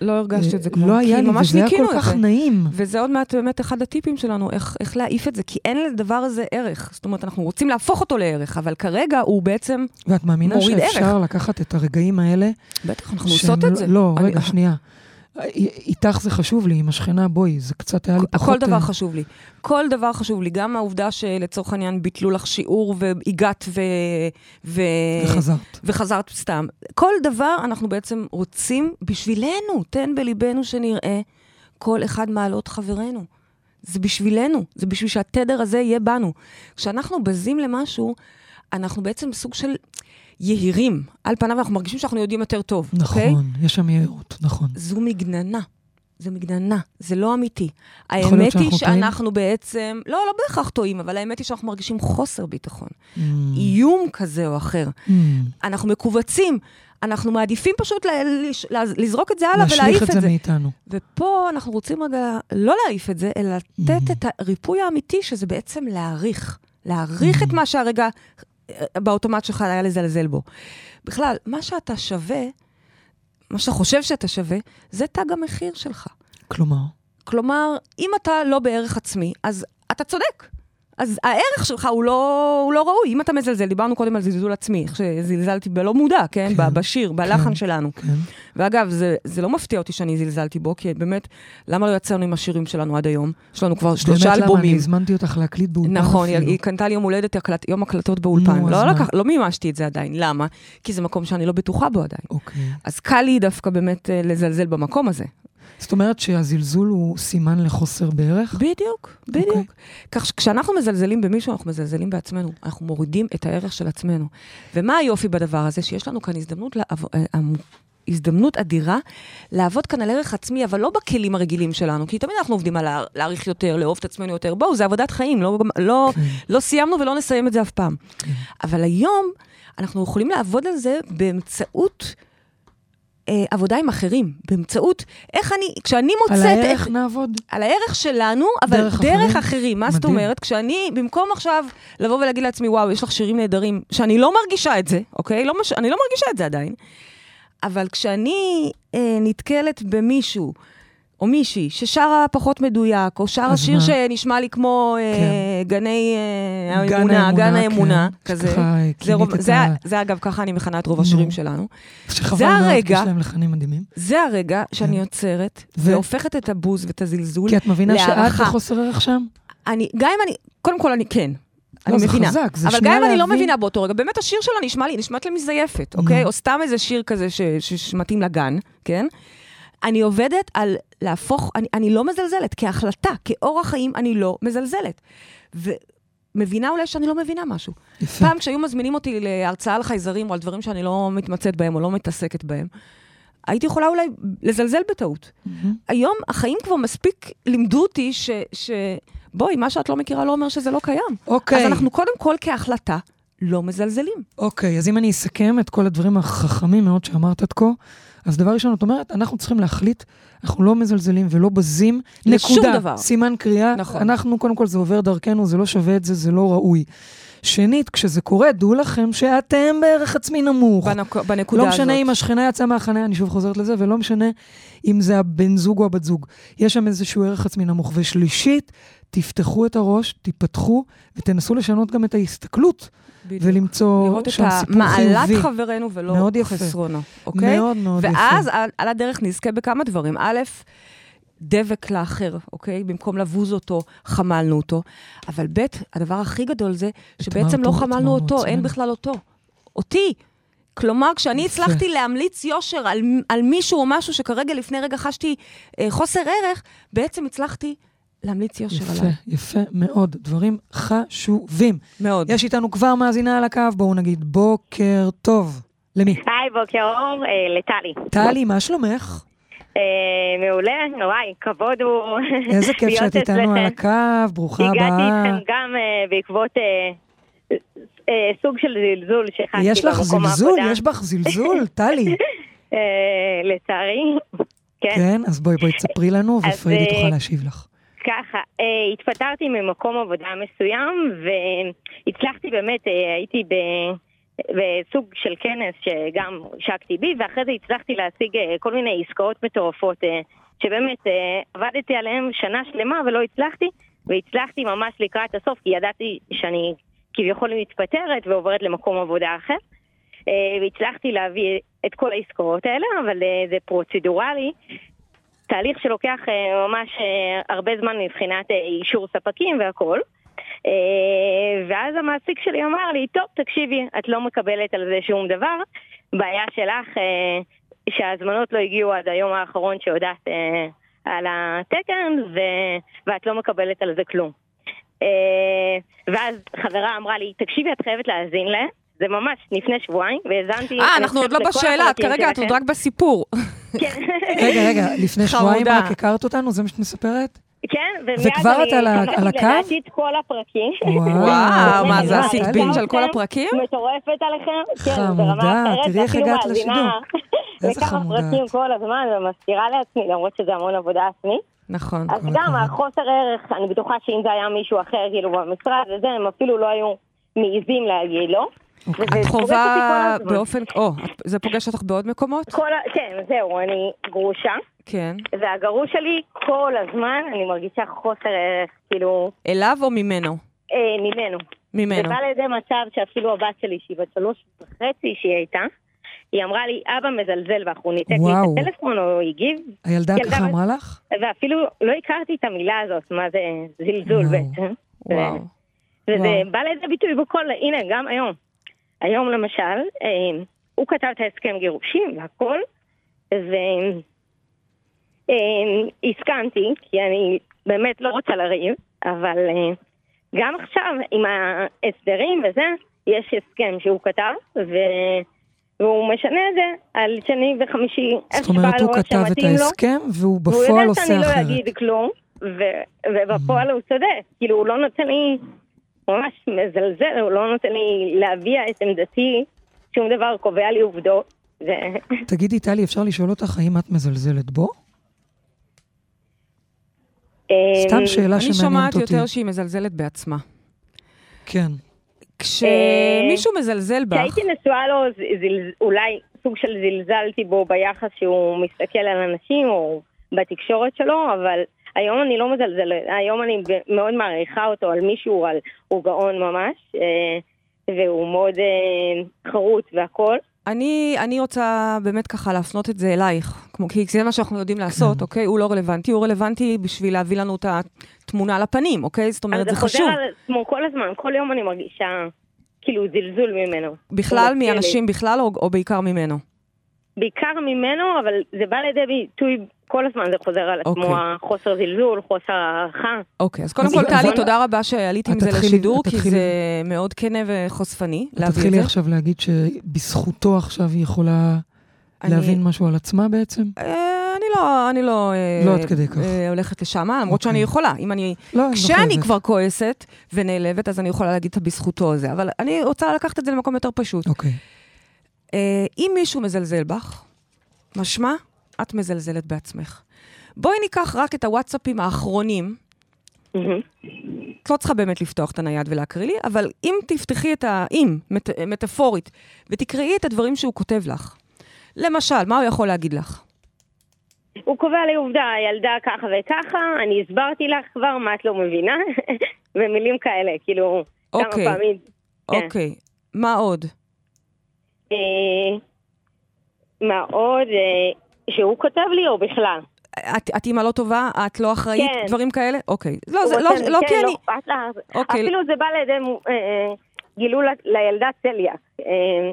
Speaker 3: לא הרגשתי את זה כמו...
Speaker 2: לא היה
Speaker 3: כי
Speaker 2: לי,
Speaker 3: ממש
Speaker 2: וזה היה
Speaker 3: ניקינו
Speaker 2: כל
Speaker 3: את
Speaker 2: כך
Speaker 3: זה.
Speaker 2: נעים.
Speaker 3: וזה עוד מעט באמת אחד הטיפים שלנו, איך, איך להעיף את זה, כי אין לדבר הזה ערך. זאת אומרת, אנחנו רוצים להפוך אותו לערך, אבל כרגע הוא בעצם...
Speaker 2: ואת מאמינה
Speaker 3: מוריד
Speaker 2: שאפשר לקחת את הרגעים האלה
Speaker 3: בטח, אנחנו
Speaker 2: שהם
Speaker 3: עושות
Speaker 2: לא-
Speaker 3: את זה.
Speaker 2: לא,
Speaker 3: אני-
Speaker 2: רגע, שנייה. איתך זה חשוב לי, עם השכנה, בואי, זה קצת היה לי פחות...
Speaker 3: כל דבר
Speaker 2: אה,
Speaker 3: חשוב לי. כל דבר חשוב לי. גם העובדה שלצורך העניין ביטלו לך שיעור והגעת ו... ו...
Speaker 2: וחזרת.
Speaker 3: וחזרת סתם. כל דבר אנחנו בעצם רוצים בשבילנו, תן בליבנו שנראה כל אחד מעלות חברינו. זה בשבילנו, זה בשביל שהתדר הזה יהיה בנו. כשאנחנו בזים למשהו, אנחנו בעצם סוג של יהירים. על פניו אנחנו מרגישים שאנחנו יודעים יותר טוב, אוקיי?
Speaker 2: נכון, יש שם יהירות, נכון.
Speaker 3: זו מגננה. זה מגננה, זה לא אמיתי.
Speaker 2: להיות
Speaker 3: האמת היא
Speaker 2: שאנחנו טועים?
Speaker 3: שאנחנו בעצם, לא, לא בהכרח טועים, אבל האמת היא שאנחנו מרגישים חוסר ביטחון.
Speaker 2: Mm,
Speaker 3: איום כזה או אחר.
Speaker 2: mm.
Speaker 3: אנחנו מכווצים, אנחנו מעדיפים פשוט ל- לש- ל- לזרוק את זה הלאה
Speaker 2: להשליך
Speaker 3: ולהעיף
Speaker 2: את זה מאיתנו.
Speaker 3: ופה אנחנו רוצים רגע לא להעיף את זה, אלא לתת
Speaker 2: Mhm.
Speaker 3: את הריפוי האמיתי, שזה בעצם להעריך. להעריך את
Speaker 2: Mhm.
Speaker 3: מה שהרגע אה, באוטומט שלך היה לזלזל בו. בכלל, מה שאתה שווה, מה שאתה חושב שאתה שווה, זה תג המחיר שלך.
Speaker 2: כלומר,
Speaker 3: כלומר, אם אתה לא בערך עצמי, אז אתה צודק. אז הערך שלך הוא לא, הוא לא ראוי. אם אתה מזלזל, דיברנו קודם על זלזול עצמי, איך שזלזלתי בלא מודע, כן?
Speaker 2: כן.
Speaker 3: ב- בשיר, בלחן
Speaker 2: כן.
Speaker 3: שלנו.
Speaker 2: כן.
Speaker 3: ואגב, זה, זה לא מפתיע אותי שאני זלזלתי בו, כי באמת, למה לא יצאנו עם השירים שלנו עד היום? יש לנו כבר שלושה
Speaker 2: באמת, למה? אני
Speaker 3: אלבומים.
Speaker 2: הזמנתי אותך להקליט באולפן
Speaker 3: נכון, היא,
Speaker 2: אפילו.
Speaker 3: היא קנתה לי יום הולדת, הקלט, יום הקלטות באולפן.
Speaker 2: נו, אז
Speaker 3: לא,
Speaker 2: מה?
Speaker 3: לקח, לא מימשתי את זה עדיין, למה? כי זה מקום שאני לא בטוחה בו עדיין.
Speaker 2: אוקיי.
Speaker 3: אז קל לי דווקא באמת אה, לזלזל במקום הזה.
Speaker 2: זאת אומרת שהזלזול הוא סימן לחוסר בערך?
Speaker 3: בדיוק,
Speaker 2: אוקיי.
Speaker 3: בדיוק. כך שכשאנחנו מזלזלים במישהו, אנחנו מזלזלים בעצמנו. אנחנו מורידים את הערך של עצמנו. ומה היופי בדבר הזה? שיש לנו כאן הזדמנות, לעב... אה, המ- הזדמנות אדירה לעבוד כאן על ערך עצמי, אבל לא בכלים הרגילים שלנו, כי תמיד אנחנו עובדים על לה- להעריך יותר, לאהוב את עצמנו יותר. בואו, זה עבודת חיים, לא, לא,
Speaker 2: כן.
Speaker 3: לא סיימנו ולא נסיים את זה אף פעם. אבל היום אנחנו יכולים לעבוד על זה באמצעות... אה, עבודה עם אחרים, באמצעות איך אני, כשאני
Speaker 2: על
Speaker 3: מוצאת...
Speaker 2: הערך נעבוד.
Speaker 3: על הערך שלנו, אבל
Speaker 2: דרך
Speaker 3: דרך,
Speaker 2: אחרים?
Speaker 3: דרך אחרים. מה זאת
Speaker 2: מדהים.
Speaker 3: אומרת? כשאני, במקום עכשיו לבוא ולהגיד לעצמי, וואו, יש לך שירים נהדרים, שאני לא מרגישה את זה, אוקיי? לא מש... אני לא מרגישה את זה עדיין. אבל כשאני אה, נתקלת במישהו, או מישהי, ששרה פחות מדוייק, או שרה
Speaker 2: אז
Speaker 3: שיר
Speaker 2: מה?
Speaker 3: שנשמע לי כמו אה,
Speaker 2: כן.
Speaker 3: גני אה,
Speaker 2: גן
Speaker 3: האמונה,
Speaker 2: האמונה,
Speaker 3: גן
Speaker 2: כן.
Speaker 3: האמונה, כזה.
Speaker 2: שככה
Speaker 3: זה, רוב,
Speaker 2: כינית את
Speaker 3: זה,
Speaker 2: ה...
Speaker 3: זה אגב, ככה אני מכנה את רוב
Speaker 2: נו.
Speaker 3: השירים שלנו.
Speaker 2: שחבל
Speaker 3: זה
Speaker 2: מאוד, כי
Speaker 3: הרגע.
Speaker 2: יש להם לחנים מדהימים.
Speaker 3: זה הרגע שאני עוצרת,
Speaker 2: כן. ו-
Speaker 3: והופכת את הבוז ואת הזלזול
Speaker 2: כי את מבינה שאת
Speaker 3: להערכה.
Speaker 2: בחוסר ערך שם?
Speaker 3: אני, גם אם אני, קודם כל אני כן.
Speaker 2: לא,
Speaker 3: אני
Speaker 2: זה
Speaker 3: מבינה.
Speaker 2: חזק, זה
Speaker 3: אבל
Speaker 2: שנייה
Speaker 3: גם אם אני לא
Speaker 2: להבין. Mm.
Speaker 3: מבינה באותו רגע, באמת השיר שלה נשמע לי, נשמעת לי מזייפת, אוקיי? או סתם איזה שיר כזה ש- ש- שמתאים לגן, כן? אני עובדת על להפוך, אני, אני לא מזלזלת, כהחלטה, כאורח חיים אני לא מזלזלת. ומבינה אולי שאני לא מבינה משהו.
Speaker 2: יפה.
Speaker 3: פעם כשהיו מזמינים אותי להרצאה על חייזרים או על דברים שאני לא מתמצאת בהם או לא מתעסקת בהם, הייתי יכולה אולי לזלזל בטעות.
Speaker 2: מהמם.
Speaker 3: היום החיים כבר מספיק לימדו אותי ש... ש... בואי, מה שאת לא מכירה לא אומר שזה לא קיים. Okay.
Speaker 2: אוקיי,
Speaker 3: אז אנחנו קודם כל כהחלטה לא מזלזלים.
Speaker 2: אוקיי, אז אם אני אסכם את כל הדברים החכמים מאוד שאמרת עד כה, אז דבר ראשון, את אומרת, אנחנו צריכים להחליט, אנחנו לא מזלזלים ולא בזים,
Speaker 3: לשום
Speaker 2: נקודה,
Speaker 3: דבר.
Speaker 2: סימן קריאה,
Speaker 3: נכון.
Speaker 2: אנחנו, קודם כל, זה עובר דרכנו, זה לא שווה את זה, זה לא ראוי. שנית, כשזה קורה, דעו לכם שאתם בערך עצמי נמוך.
Speaker 3: בנק... בנקודה
Speaker 2: לא
Speaker 3: הזאת.
Speaker 2: משנה אם השכנה יצאה מהחניה, אני שוב חוזרת לזה, ולא משנה אם זה הבן זוג או הבת זוג. יש שם איזשהו ערך עצמי נמוך. ושלישית, תפתחו את הראש, תיפתחו, ותנסו לשנות גם את ההסתכלות,
Speaker 3: בדיוק.
Speaker 2: ולמצוא
Speaker 3: לראות את
Speaker 2: שם סיפור
Speaker 3: המעלת
Speaker 2: חיובי.
Speaker 3: חברנו ולא
Speaker 2: מאוד יפה.
Speaker 3: חסרונו, אוקיי?
Speaker 2: מאוד מאוד
Speaker 3: ואז
Speaker 2: יפה.
Speaker 3: על, על הדרך נזכה בכמה דברים. א', דבק לאחר, אוקיי? במקום לבוז אותו, חמלנו אותו. אבל ב', הדבר הכי גדול זה שבעצם לא
Speaker 2: אמרת,
Speaker 3: חמלנו
Speaker 2: אמרנו
Speaker 3: אותו, אין
Speaker 2: עצמנו.
Speaker 3: בכלל אותו. אותי. כלומר, כשאני
Speaker 2: יפה.
Speaker 3: הצלחתי להמליץ יושר על, על מישהו או משהו שכרגע, לפני רגע חשתי אה, חוסר ערך, בעצם הצלחתי להמליץ יושר
Speaker 2: יפה,
Speaker 3: עליו.
Speaker 2: יפה מאוד. דברים חשובים.
Speaker 3: מאוד.
Speaker 2: יש איתנו כבר מאזינה על הקו, בואו נגיד בוקר טוב. למי?
Speaker 4: היי, בוקר אור, אה, לטלי.
Speaker 2: טלי, מה שלומך?
Speaker 4: אה, מעולה, וואי, כבוד הוא
Speaker 2: איזה כיף
Speaker 4: להיות
Speaker 2: שאת איתנו על אה?
Speaker 4: אצלכם.
Speaker 2: הקו, ברוכה
Speaker 4: הגעתי
Speaker 2: הבאה.
Speaker 4: איתכם גם אה, בעקבות אה, אה, סוג של זלזול שחקתי
Speaker 2: יש לך
Speaker 4: כאילו, במקום
Speaker 2: זלזול,
Speaker 4: העבודה.
Speaker 2: יש בך זלזול, טלי.
Speaker 4: אה, לצערי, כן.
Speaker 2: כן, אז בואי, בואי, תספרי לנו,
Speaker 4: אז,
Speaker 2: ופרידי
Speaker 4: אה,
Speaker 2: תוכל להשיב לך.
Speaker 4: ככה, אה, התפטרתי ממקום עבודה מסוים והצלחתי באמת, אה, הייתי ב... בסוג של כנס שגם השקתי בי, ואחרי זה הצלחתי להשיג אה, כל מיני עסקאות מטורפות אה, שבאמת אה, עבדתי עליהן שנה שלמה ולא הצלחתי, והצלחתי ממש לקראת הסוף כי ידעתי שאני כביכול מתפטרת ועוברת למקום עבודה אחר. אה, והצלחתי להביא את כל העסקאות האלה, אבל אה, זה פרוצדורלי. תהליך שלוקח אה, ממש אה, הרבה זמן מבחינת אה, אישור ספקים והכול. אה, ואז המעסיק שלי אמר לי, טוב, תקשיבי, את לא מקבלת על זה שום דבר, בעיה שלך אה, שההזמנות לא הגיעו עד היום האחרון שהודעת אה, על התקן, ו... ואת לא מקבלת על זה כלום. אה, ואז חברה אמרה לי, תקשיבי, את חייבת להאזין לה. זה ממש לפני שבועיים, והאזנתי...
Speaker 3: אה, אנחנו עוד לא
Speaker 4: לכל
Speaker 3: בשאלה, את
Speaker 4: הפרקים
Speaker 3: כרגע את
Speaker 4: שלכם.
Speaker 3: עוד רק בסיפור.
Speaker 4: כן.
Speaker 2: רגע, רגע, לפני
Speaker 3: חמודה.
Speaker 2: שבועיים רק הכרת אותנו, זה מה שאת מספרת?
Speaker 4: כן,
Speaker 2: וכבר את על ה-
Speaker 4: קראתי
Speaker 2: על הקו?
Speaker 4: לדעתי את כל הפרקים.
Speaker 3: וואו, מה זה
Speaker 4: כאילו, אני לא
Speaker 3: עשית
Speaker 4: מעריצה
Speaker 3: בינג' על
Speaker 4: אתכם,
Speaker 3: כל הפרקים?
Speaker 4: מטורפת עליכם. כן,
Speaker 2: חמודה,
Speaker 4: ברמה אחרת,
Speaker 2: תראי איך
Speaker 4: ואפילו
Speaker 2: הגעת
Speaker 4: מאזינה
Speaker 2: לשידור. איזה
Speaker 4: לכמה
Speaker 2: חמודה
Speaker 4: פרקים
Speaker 2: את.
Speaker 4: כל הזמן, ומזכירה לעצמי, למרות שזה המון עבודה עצמית.
Speaker 3: נכון.
Speaker 4: אז
Speaker 2: כל
Speaker 4: גם
Speaker 2: הכבוד.
Speaker 4: החוסר ערך, אני בטוחה שאם זה היה מישהו אחר, כאילו במשרד וזה, הם אפילו לא היו מעיזים להגיד לו.
Speaker 2: אוקיי.
Speaker 4: וזה
Speaker 3: את
Speaker 4: פוגש אותי כל
Speaker 3: חווה
Speaker 4: הזמן.
Speaker 3: באופן, או, את- זה פוגש אותך בעוד מקומות?
Speaker 4: כל ה- כן, זהו, אני גרושה,
Speaker 3: כן.
Speaker 4: והגרוש שלי כל הזמן, אני מרגישה חוסר ערך, כאילו,
Speaker 3: אליו או ממנו?
Speaker 4: אה, ממנו. זה
Speaker 3: ממנו.
Speaker 4: בא לידי מצב שאפילו הבת שלי, שהיא בת שלוש וחצי שהיא הייתה, היא אמרה לי, אבא מזלזל בך, הוא ניתק לי
Speaker 2: וואו.
Speaker 4: את הטלפון, או הגיב,
Speaker 2: הילדה
Speaker 4: ילדה
Speaker 2: ככה
Speaker 4: בת-
Speaker 2: אמרה לך?
Speaker 4: ואפילו לא הכרתי את המילה הזאת, מה זה זלזול
Speaker 2: וואו.
Speaker 4: בעצם.
Speaker 3: וואו.
Speaker 4: וזה
Speaker 3: וואו.
Speaker 4: בא לידי ביטוי בכל, הנה, גם היום. היום למשל, אה, הוא כתב את ההסכם גירושים והכל, והסכמתי, כי אני באמת לא רוצה לריב, אבל אה, גם עכשיו עם ההסדרים וזה, יש הסכם שהוא כתב, ו... והוא משנה את זה על שני וחמישי, איך
Speaker 2: זאת
Speaker 4: שבא
Speaker 2: אומרת,
Speaker 4: לו,
Speaker 2: הוא
Speaker 4: איך
Speaker 2: כתב את
Speaker 4: שמתאים לו.
Speaker 2: ההסכם, והוא
Speaker 4: והוא
Speaker 2: בפועל
Speaker 4: יודע שאני
Speaker 2: עושה
Speaker 4: לא
Speaker 2: אחרת.
Speaker 4: אגיד כלום, ו- ובפועל הוא צודק. כאילו, הוא לא נותן לי, הוא ממש מזלזל, הוא לא נותן לי להביע את עמדתי, שום דבר, קובע לי עובדות. זה-
Speaker 2: תגידי, טלי, אפשר לשאול אותך האם את מזלזלת בו?
Speaker 3: אה,
Speaker 4: אה,
Speaker 2: סתם שאלה
Speaker 3: אני
Speaker 2: לא שמעניינת
Speaker 3: שומעת
Speaker 2: אותי.
Speaker 3: יותר שהיא מזלזלת בעצמה.
Speaker 2: כן.
Speaker 3: כשמישהו מזלזל בך,
Speaker 4: כשהייתי נשואה לו, ז- זל- אולי סוג של זלזלתי בו ביחס שהוא מסתכל על אנשים, או בתקשורת שלו, אבל היום אני לא מזלזלת, היום אני ב- מאוד מעריכה אותו על מישהו, על הוא גאון ממש, אה, והוא מאוד אה, חרוץ והכול.
Speaker 3: אני, אני רוצה באמת ככה להפנות את זה אלייך, כמו, כי זה מה שאנחנו יודעים לעשות, אוקיי? הוא לא רלוונטי, הוא רלוונטי בשביל להביא לנו את התמונה לפנים, אוקיי? זאת אומרת, זה
Speaker 4: אבל
Speaker 3: חשוב.
Speaker 4: חוזר על עצמו כל הזמן, כל יום אני מרגישה כאילו זלזול ממנו. הוא
Speaker 3: בכלל,
Speaker 4: מזכיר לי.
Speaker 3: מאנשים בכלל או, או בעיקר ממנו?
Speaker 4: בעיקר ממנו, אבל זה בא לידי ביטוי כל הזמן, זה חוזר על עצמו,
Speaker 3: אוקיי.
Speaker 4: החוסר זלזול, חוסר הערכה.
Speaker 3: אוקיי, אז קודם
Speaker 2: אז-
Speaker 3: כל,
Speaker 2: אז-
Speaker 3: טלי,
Speaker 2: אז-
Speaker 3: תודה רבה שעלית עם
Speaker 2: את
Speaker 3: זה
Speaker 2: תתחילי-
Speaker 3: לשידור,
Speaker 2: את
Speaker 3: כי
Speaker 2: תתחילי- אה,
Speaker 3: זה מאוד כנה וחושפני להביא את
Speaker 2: תתחילי
Speaker 3: זה.
Speaker 2: עכשיו להגיד שבזכותו עכשיו היא יכולה
Speaker 3: אני-
Speaker 2: להבין משהו על עצמה בעצם?
Speaker 3: אה, אני לא, אני לא... אה,
Speaker 2: לא עד כדי כך.
Speaker 3: אה, הולכת לשם, למרות
Speaker 2: אוקיי.
Speaker 3: שאני יכולה. אם אני...
Speaker 2: לא, אני
Speaker 3: כשאני
Speaker 2: לא
Speaker 3: כבר כועסת ונעלבת, אז אני יכולה להגיד את הבזכותו הזה. אבל אני רוצה לקחת את זה למקום יותר פשוט.
Speaker 2: אוקיי.
Speaker 3: אה, אם מישהו מזלזל בך, משמע, את מזלזלת בעצמך. בואי ניקח רק את הוואטסאפים האחרונים.
Speaker 4: מהמם.
Speaker 3: את לא צריכה באמת לפתוח את הנייד ולהקריא לי, אבל אם תפתחי את ה... אם, מט... מטאפורית, ותקראי את הדברים שהוא כותב לך. למשל, מה הוא יכול להגיד לך?
Speaker 4: הוא קובע לי עובדה, הילדה ככה וככה, אני הסברתי לך כבר מה את לא מבינה, ומילים כאלה, כאילו, כמה
Speaker 3: אוקיי.
Speaker 4: פעמים. כן.
Speaker 3: אוקיי, מה עוד?
Speaker 4: אה, מה עוד? אה, שהוא כותב לי או בכלל?
Speaker 3: את, את אימא לא טובה? את לא אחראית?
Speaker 4: כן.
Speaker 3: דברים כאלה? אוקיי. לא,
Speaker 4: הוא
Speaker 3: זה, לא,
Speaker 4: רוצה-
Speaker 3: לא
Speaker 4: כן,
Speaker 3: כי אני...
Speaker 4: אכפת לה.
Speaker 3: אוקיי.
Speaker 4: אפילו זה בא לידי מו- אה, אה, גילו ל- לילדה צליאק. אה,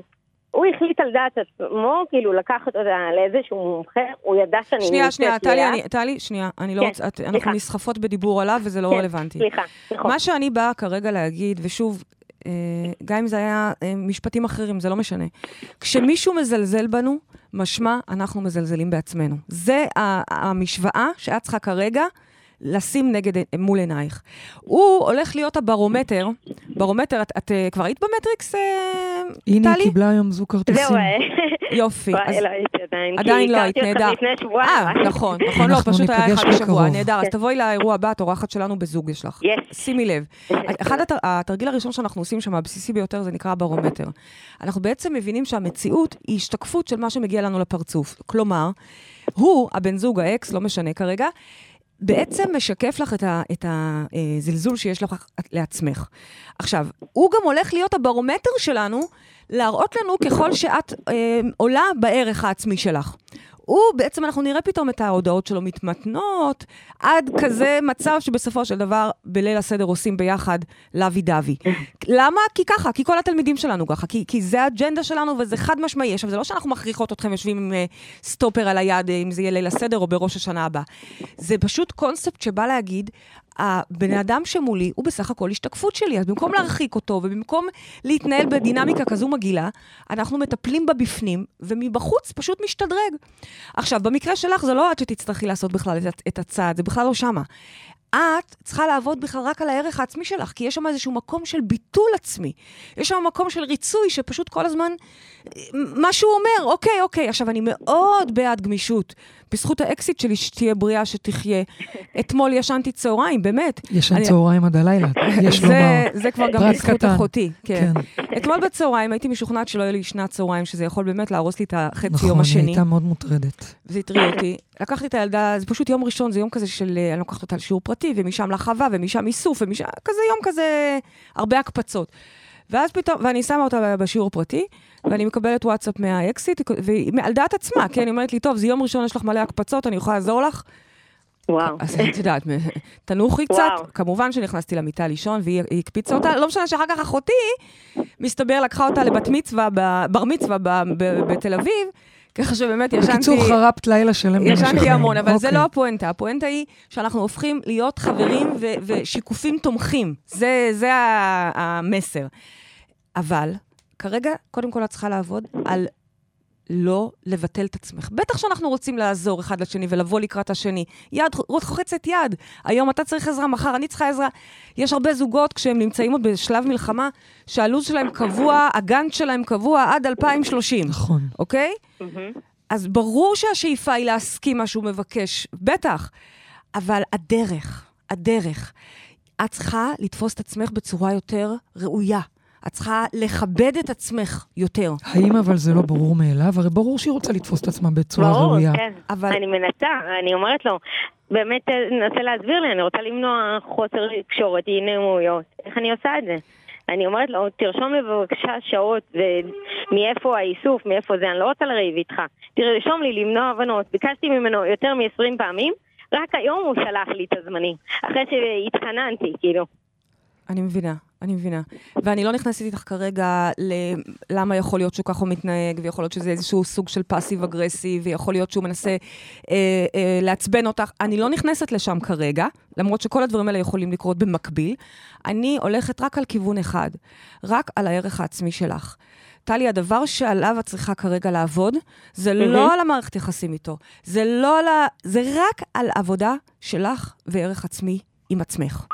Speaker 4: הוא החליט על דעת עצמו, כאילו לקחת אותה לאיזשהו מומחה, הוא ידע שאני
Speaker 3: שנייה,
Speaker 4: נמצאת
Speaker 3: שנייה, טלי,
Speaker 4: צליאק.
Speaker 3: אני- טלי, שנייה, אני לא
Speaker 4: כן,
Speaker 3: רוצה... את- אנחנו
Speaker 4: סליחה.
Speaker 3: נסחפות בדיבור עליו וזה לא
Speaker 4: כן,
Speaker 3: רלוונטי.
Speaker 4: סליחה, נכון.
Speaker 3: מה שאני באה כרגע להגיד, ושוב, אה, גם אם זה היה אה, משפטים אחרים, זה לא משנה. כשמישהו מזלזל בנו, משמע אנחנו מזלזלים בעצמנו. זה ה- המשוואה שאת צריכה כרגע לשים נגד, מול עינייך. הוא הולך להיות הברומטר, ברומטר, את, את אה, כבר היית במטריקס, אה,
Speaker 2: הנה, היא
Speaker 3: טלי?
Speaker 2: קיבלה היום זוג
Speaker 4: זהו,
Speaker 2: כרטיסים.
Speaker 4: אה,
Speaker 3: יופי.
Speaker 4: וואי,
Speaker 3: אז-
Speaker 4: לא הייתי עדיין. כי
Speaker 3: עדיין לא היית,
Speaker 4: הכרתי אותך
Speaker 3: נהדר.
Speaker 4: לפני
Speaker 3: אה,
Speaker 4: שבועיים.
Speaker 3: נכון, נכון, לא,
Speaker 2: אנחנו
Speaker 3: פשוט היה
Speaker 2: ניפגש
Speaker 3: אחד בשבוע,
Speaker 2: בקרוב.
Speaker 3: נהדר. אז
Speaker 4: כן.
Speaker 3: תבואי לאירוע הבא, את אורחת שלנו בזוג יש לך.
Speaker 4: Yes.
Speaker 3: שימי לב. אחד התר- התרגיל הראשון שאנחנו עושים שם, הבסיסי ביותר, זה נקרא ברומטר. אנחנו בעצם מבינים שהמציאות היא השתקפות של מה שמגיע לנו לפרצוף. כלומר, הוא, הבן זוג, האקס, לא משנה כרגע, בעצם משקף לך את ה- את הזלזול שיש לך לעצמך. עכשיו, הוא גם הולך להיות הברומטר שלנו להראות לנו ככל שאת אה, עולה בערך העצמי שלך. הוא, בעצם אנחנו נראה פתאום את ההודעות שלו מתמתנות, עד כזה מצב שבסופו של דבר בליל הסדר עושים ביחד לוי דווי. למה? כי ככה, כי כל התלמידים שלנו ככה, כי, כי זה האג'נדה שלנו וזה חד משמעי. עכשיו, זה לא שאנחנו מכריחות אתכם יושבים עם אה, סטופר על היד, אה, אם זה יהיה ליל הסדר או בראש השנה הבא. זה פשוט קונספט שבא להגיד, הבן אדם שמולי הוא בסך הכל השתקפות שלי, אז במקום להרחיק אותו ובמקום להתנהל בדינמיקה כזו מגעילה, אנחנו מטפלים בה בפנים ומבחוץ פשוט משתדרג. עכשיו, במקרה שלך זה לא את שתצטרכי לעשות בכלל את, את הצעד, זה בכלל לא שמה. את צריכה לעבוד בכלל רק על הערך העצמי שלך, כי יש שם איזשהו מקום של ביטול עצמי. יש שם מקום של ריצוי שפשוט כל הזמן, אה, מה שהוא אומר, אוקיי, אוקיי. עכשיו, אני מאוד בעד גמישות. בזכות האקסיט שלי, שתהיה בריאה, שתחיה. אתמול ישנתי צהריים, באמת.
Speaker 2: ישן
Speaker 3: אני- אה,
Speaker 2: צהריים עד הלילה, יש
Speaker 3: זה,
Speaker 2: לומר.
Speaker 3: זה כבר גם
Speaker 2: פרט
Speaker 3: בזכות
Speaker 2: קטן.
Speaker 3: אחותי. כן.
Speaker 2: כן.
Speaker 3: אתמול בצהריים הייתי משוכנעת שלא יהיה לי שנת צהריים, שזה יכול באמת להרוס לי את החצי
Speaker 2: נכון,
Speaker 3: יום
Speaker 2: היא
Speaker 3: השני.
Speaker 2: הייתה מאוד מוטרדת.
Speaker 3: זה הטריע אותי. לקחתי את הילדה, זה פשוט יום ראשון, זה יום כזה של, אה, אני לוקחת אותה לשיעור פרטי, ומשם לחווה, ומשם איסוף, ומשם, כזה יום כזה, הרבה הקפצות. ואז פתאום, ואני שמה אותה בשיעור הפרטי, ואני מקבלת וואטסאפ מהאקסיט, והיא על דעת עצמה, כן, היא אומרת לי, טוב, זה יום ראשון, יש לך מלא הקפצות, אני יכולה לעזור לך.
Speaker 4: וואו.
Speaker 3: אז את יודעת, תנוחי
Speaker 4: וואו.
Speaker 3: קצת. כמובן שנכנסתי למיטה לישון, והיא היא הקפיצה אותה, לא משנה שאחר כך אחותי, מסתבר, לקחה אותה לבת מצווה, ב- בר מצווה ב- ב- בתל אביב, ככה שבאמת ישנתי...
Speaker 2: בקיצור, חרפת לילה שלם. במשך
Speaker 3: ישנתי
Speaker 2: היום.
Speaker 3: המון, אבל זה
Speaker 2: אוקיי.
Speaker 3: לא הפואנטה. הפואנטה היא שאנחנו הופכים להיות חברים ו- ושיקופים תומכים. זה, זה ה- המסר. אבל כרגע, קודם כל את צריכה לעבוד על לא לבטל את עצמך. בטח שאנחנו רוצים לעזור אחד לשני ולבוא לקראת השני. יד רוחצת יד. היום אתה צריך עזרה, מחר אני צריכה עזרה. יש הרבה זוגות, כשהם נמצאים עוד בשלב מלחמה, שהלו"ז שלהם קבוע, הגאנט שלהם קבוע עד 2030,
Speaker 2: נכון.
Speaker 3: אוקיי?
Speaker 4: מהמם.
Speaker 3: אז ברור שהשאיפה היא להסכים מה שהוא מבקש, בטח. אבל הדרך, הדרך. את צריכה לתפוס את עצמך בצורה יותר ראויה. את צריכה לכבד את עצמך יותר.
Speaker 2: האם אבל זה לא ברור מאליו? הרי ברור שהיא רוצה לתפוס את עצמה בצורה
Speaker 4: ברור,
Speaker 2: ראויה.
Speaker 4: כן.
Speaker 3: אבל-
Speaker 4: אני מנסה, אני אומרת לו, באמת תנסה להסביר לי, אני רוצה למנוע חוסר תקשורת, אי נעימויות. איך אני עושה את זה? אני אומרת לו, תרשום לי בבקשה שעות, ומאיפה האיסוף, מאיפה זה, אני לא רוצה לריב איתך. תרשום לי למנוע הבנות. ביקשתי ממנו יותר מ-20 פעמים, רק היום הוא שלח לי את הזמנים. אחרי שהתחננתי, כאילו.
Speaker 3: אני מבינה, אני מבינה. ואני לא נכנסת איתך כרגע ללמה יכול להיות שהוא ככה מתנהג, ויכול להיות שזה איזשהו סוג של פאסיב אגרסיב, ויכול להיות שהוא מנסה אה, אה, לעצבן אותך. אני לא נכנסת לשם כרגע, למרות שכל הדברים האלה יכולים לקרות במקביל. אני הולכת רק על כיוון אחד, רק על הערך העצמי שלך. טלי, הדבר שעליו את צריכה כרגע לעבוד, זה לא על המערכת יחסים איתו, זה לא על ה... זה רק על עבודה שלך וערך עצמי עם עצמך.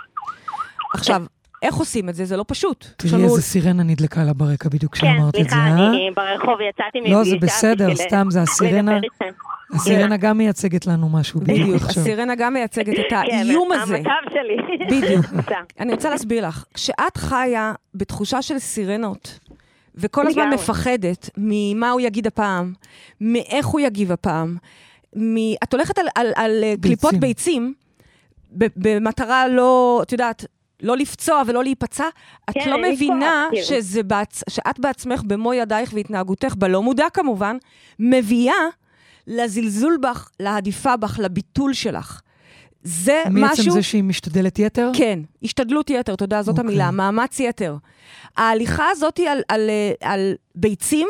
Speaker 3: עכשיו, איך עושים את זה? זה לא פשוט. יש
Speaker 2: תראי
Speaker 3: לנו-
Speaker 2: איזה סירנה נדלקה לה ברקע בדיוק כשאמרת את זה,
Speaker 4: כן,
Speaker 2: אה?
Speaker 4: סליחה, אני ברחוב יצאתי מפגישה.
Speaker 2: לא, זה בסדר,
Speaker 4: בשביל
Speaker 2: סתם, זה הסירנה.
Speaker 4: לדבר איתכם.
Speaker 2: הסירנה גם מייצגת לנו משהו בדיוק
Speaker 3: בדיוק,
Speaker 2: עכשיו.
Speaker 3: הסירנה גם מייצגת את
Speaker 4: כן,
Speaker 3: האיום הזה.
Speaker 4: המצב שלי.
Speaker 3: בדיוק.
Speaker 4: סתם.
Speaker 3: אני רוצה להסביר לך, כשאת חיה בתחושה של סירנות, וכל הזמן
Speaker 4: לגמרי.
Speaker 3: מפחדת ממה הוא יגיד הפעם, מאיך הוא יגיב הפעם, מ... את הולכת על, על, על אה, קליפות ביצים, ב- במטרה לא, את יודעת, לא לפצוע ולא להיפצע, את
Speaker 4: כן,
Speaker 3: לא
Speaker 4: אין לי
Speaker 3: מבינה
Speaker 4: כוח, כאילו.
Speaker 3: שזה בעצ... שאת בעצמך, במו ידייך והתנהגותך, בלא מודע כמובן, מביאה לזלזול בך, להדיפה בך, לביטול שלך. זה משהו...
Speaker 2: מעצם זה שהיא משתדלת יתר?
Speaker 3: כן, השתדלות יתר, תודה, זאת
Speaker 2: אוקיי.
Speaker 3: המילה, מאמץ יתר. ההליכה הזאת היא על, על, אה, על ביצים,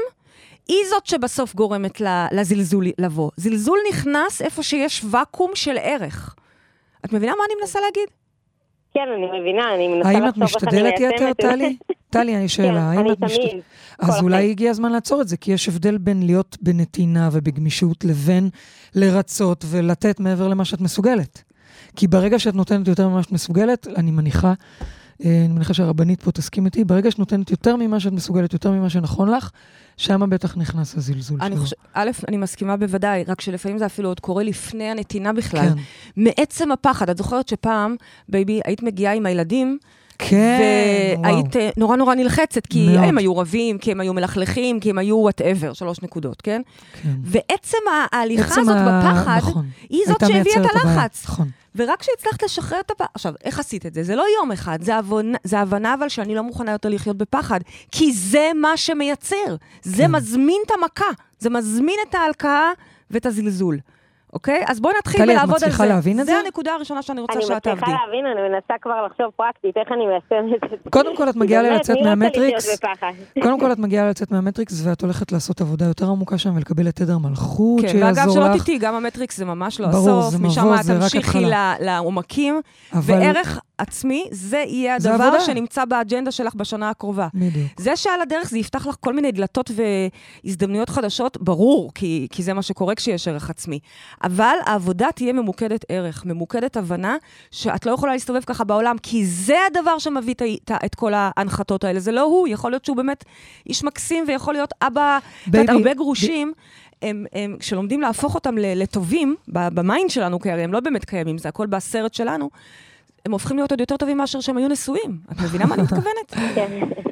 Speaker 3: היא זאת שבסוף גורמת ל- לזלזול לבוא. זלזול נכנס איפה שיש ואקום של ערך. את מבינה מה אני מנסה להגיד?
Speaker 4: כן, אני מבינה, אני מנסה לחשוב
Speaker 2: האם
Speaker 4: איך
Speaker 2: את
Speaker 4: אני
Speaker 2: משתדלת
Speaker 4: מיישמת
Speaker 2: יתר,
Speaker 4: את זה.
Speaker 2: טלי? טלי, אני
Speaker 4: כן,
Speaker 2: שאלה, האם
Speaker 4: אני
Speaker 2: את משתדלת...
Speaker 4: תמיד.
Speaker 2: אז
Speaker 4: כל
Speaker 2: אולי
Speaker 4: החיים.
Speaker 2: הגיע הזמן לעצור את זה, כי יש הבדל בין להיות בנתינה ובגמישות לבין לרצות ולתת מעבר למה שאת מסוגלת. כי ברגע שאת נותנת יותר ממה שאת מסוגלת, אני מניחה, אה, אני מניחה שהרבנית פה תסכים איתי, ברגע שאת נותנת יותר ממה שאת מסוגלת, יותר ממה שנכון לך, שם בטח נכנס הזלזול
Speaker 3: אני
Speaker 2: שלו.
Speaker 3: חושבת, א', אני מסכימה בוודאי, רק שלפעמים זה אפילו עוד קורה לפני הנתינה בכלל.
Speaker 2: כן.
Speaker 3: מעצם הפחד, את זוכרת שפעם, בייבי, היית מגיעה עם הילדים,
Speaker 2: כן, וואו.
Speaker 3: והיית אה, נורא נורא נלחצת, כי
Speaker 2: מאוד.
Speaker 3: הם היו רבים, כי הם היו מלכלכים, כי הם היו וואטאבר, שלוש נקודות, כן?
Speaker 2: כן.
Speaker 3: ועצם ה- ההליכה
Speaker 2: עצם
Speaker 3: הזאת
Speaker 2: ה-
Speaker 3: בפחד,
Speaker 2: נכון.
Speaker 3: היא זאת
Speaker 2: הייתה
Speaker 3: שהביאה את
Speaker 2: מייצרת הבעיה.
Speaker 3: הלחץ.
Speaker 2: נכון.
Speaker 3: ורק כשהצלחת לשחרר את הפחד, עכשיו, איך עשית את זה? זה לא יום אחד, זה הבנה, זה הבנה אבל שאני לא מוכנה יותר לחיות בפחד, כי זה מה שמייצר, זה
Speaker 2: כן.
Speaker 3: מזמין את המכה, זה מזמין את ההלקאה ואת הזלזול, אוקיי? אז בואי נתחיל
Speaker 2: טלי, את
Speaker 3: בלעבוד על זה.
Speaker 2: מצליחה להבין את
Speaker 3: זה
Speaker 2: זה?
Speaker 3: הנקודה הראשונה שאני רוצה
Speaker 4: אני
Speaker 3: שאת תעבדי.
Speaker 4: מצליחה להבין, אני מנסה כבר לחשוב פרקטית, איך אני מיישמת את זה.
Speaker 2: קודם כל, את
Speaker 4: כי
Speaker 2: מגיעה
Speaker 4: באמת,
Speaker 2: ללצאת
Speaker 4: מי רוצה
Speaker 2: מהמטריקס?
Speaker 4: לחיות בפחד?
Speaker 2: קודם כל, את מגיעה לצאת מהמטריקס ואת הולכת לעשות עבודה יותר עמוקה שם ולקבל את תדר מלכות
Speaker 3: כן,
Speaker 2: שיעזור לך.
Speaker 3: ואגב, שלא תטעי, גם המטריקס זה ממש לא
Speaker 2: ברור,
Speaker 3: הסוף,
Speaker 2: זה
Speaker 3: משם
Speaker 2: מבוא,
Speaker 3: את
Speaker 2: זה רק
Speaker 3: תמשיכי
Speaker 2: התחלה.
Speaker 3: ל- לעומקים,
Speaker 2: אבל-
Speaker 3: וערך עצמי, זה יהיה
Speaker 2: זה
Speaker 3: הדבר
Speaker 2: עבודה.
Speaker 3: שנמצא באג'נדה שלך בשנה הקרובה.
Speaker 2: בדיוק.
Speaker 3: זה שעל הדרך זה יפתח לך כל מיני דלתות והזדמנויות חדשות, ברור, כי, כי זה מה שקורה כשיש ערך עצמי. אבל העבודה תהיה ממוקדת ערך, ממוקדת הבנה שאת לא יכולה להסתובב ככה בעולם, כי זה הדבר שמביא את, ה- את, ה- את כל ההנחתות האלה. זה לא הוא, יכול להיות שהוא באמת איש מקסים ויכול להיות אבא, את יודעת,
Speaker 2: בייבי,
Speaker 3: הרבה גרושים. הם, הם, כשלומדים להפוך אותם ל- לטובים, ב- במיינד שלנו, כי הרי הם לא באמת קיימים, זה הכל בסרט שלנו, הם הופכים להיות עוד יותר טובים מאשר שהם היו נשואים. את מבינה מה אני מתכוונת?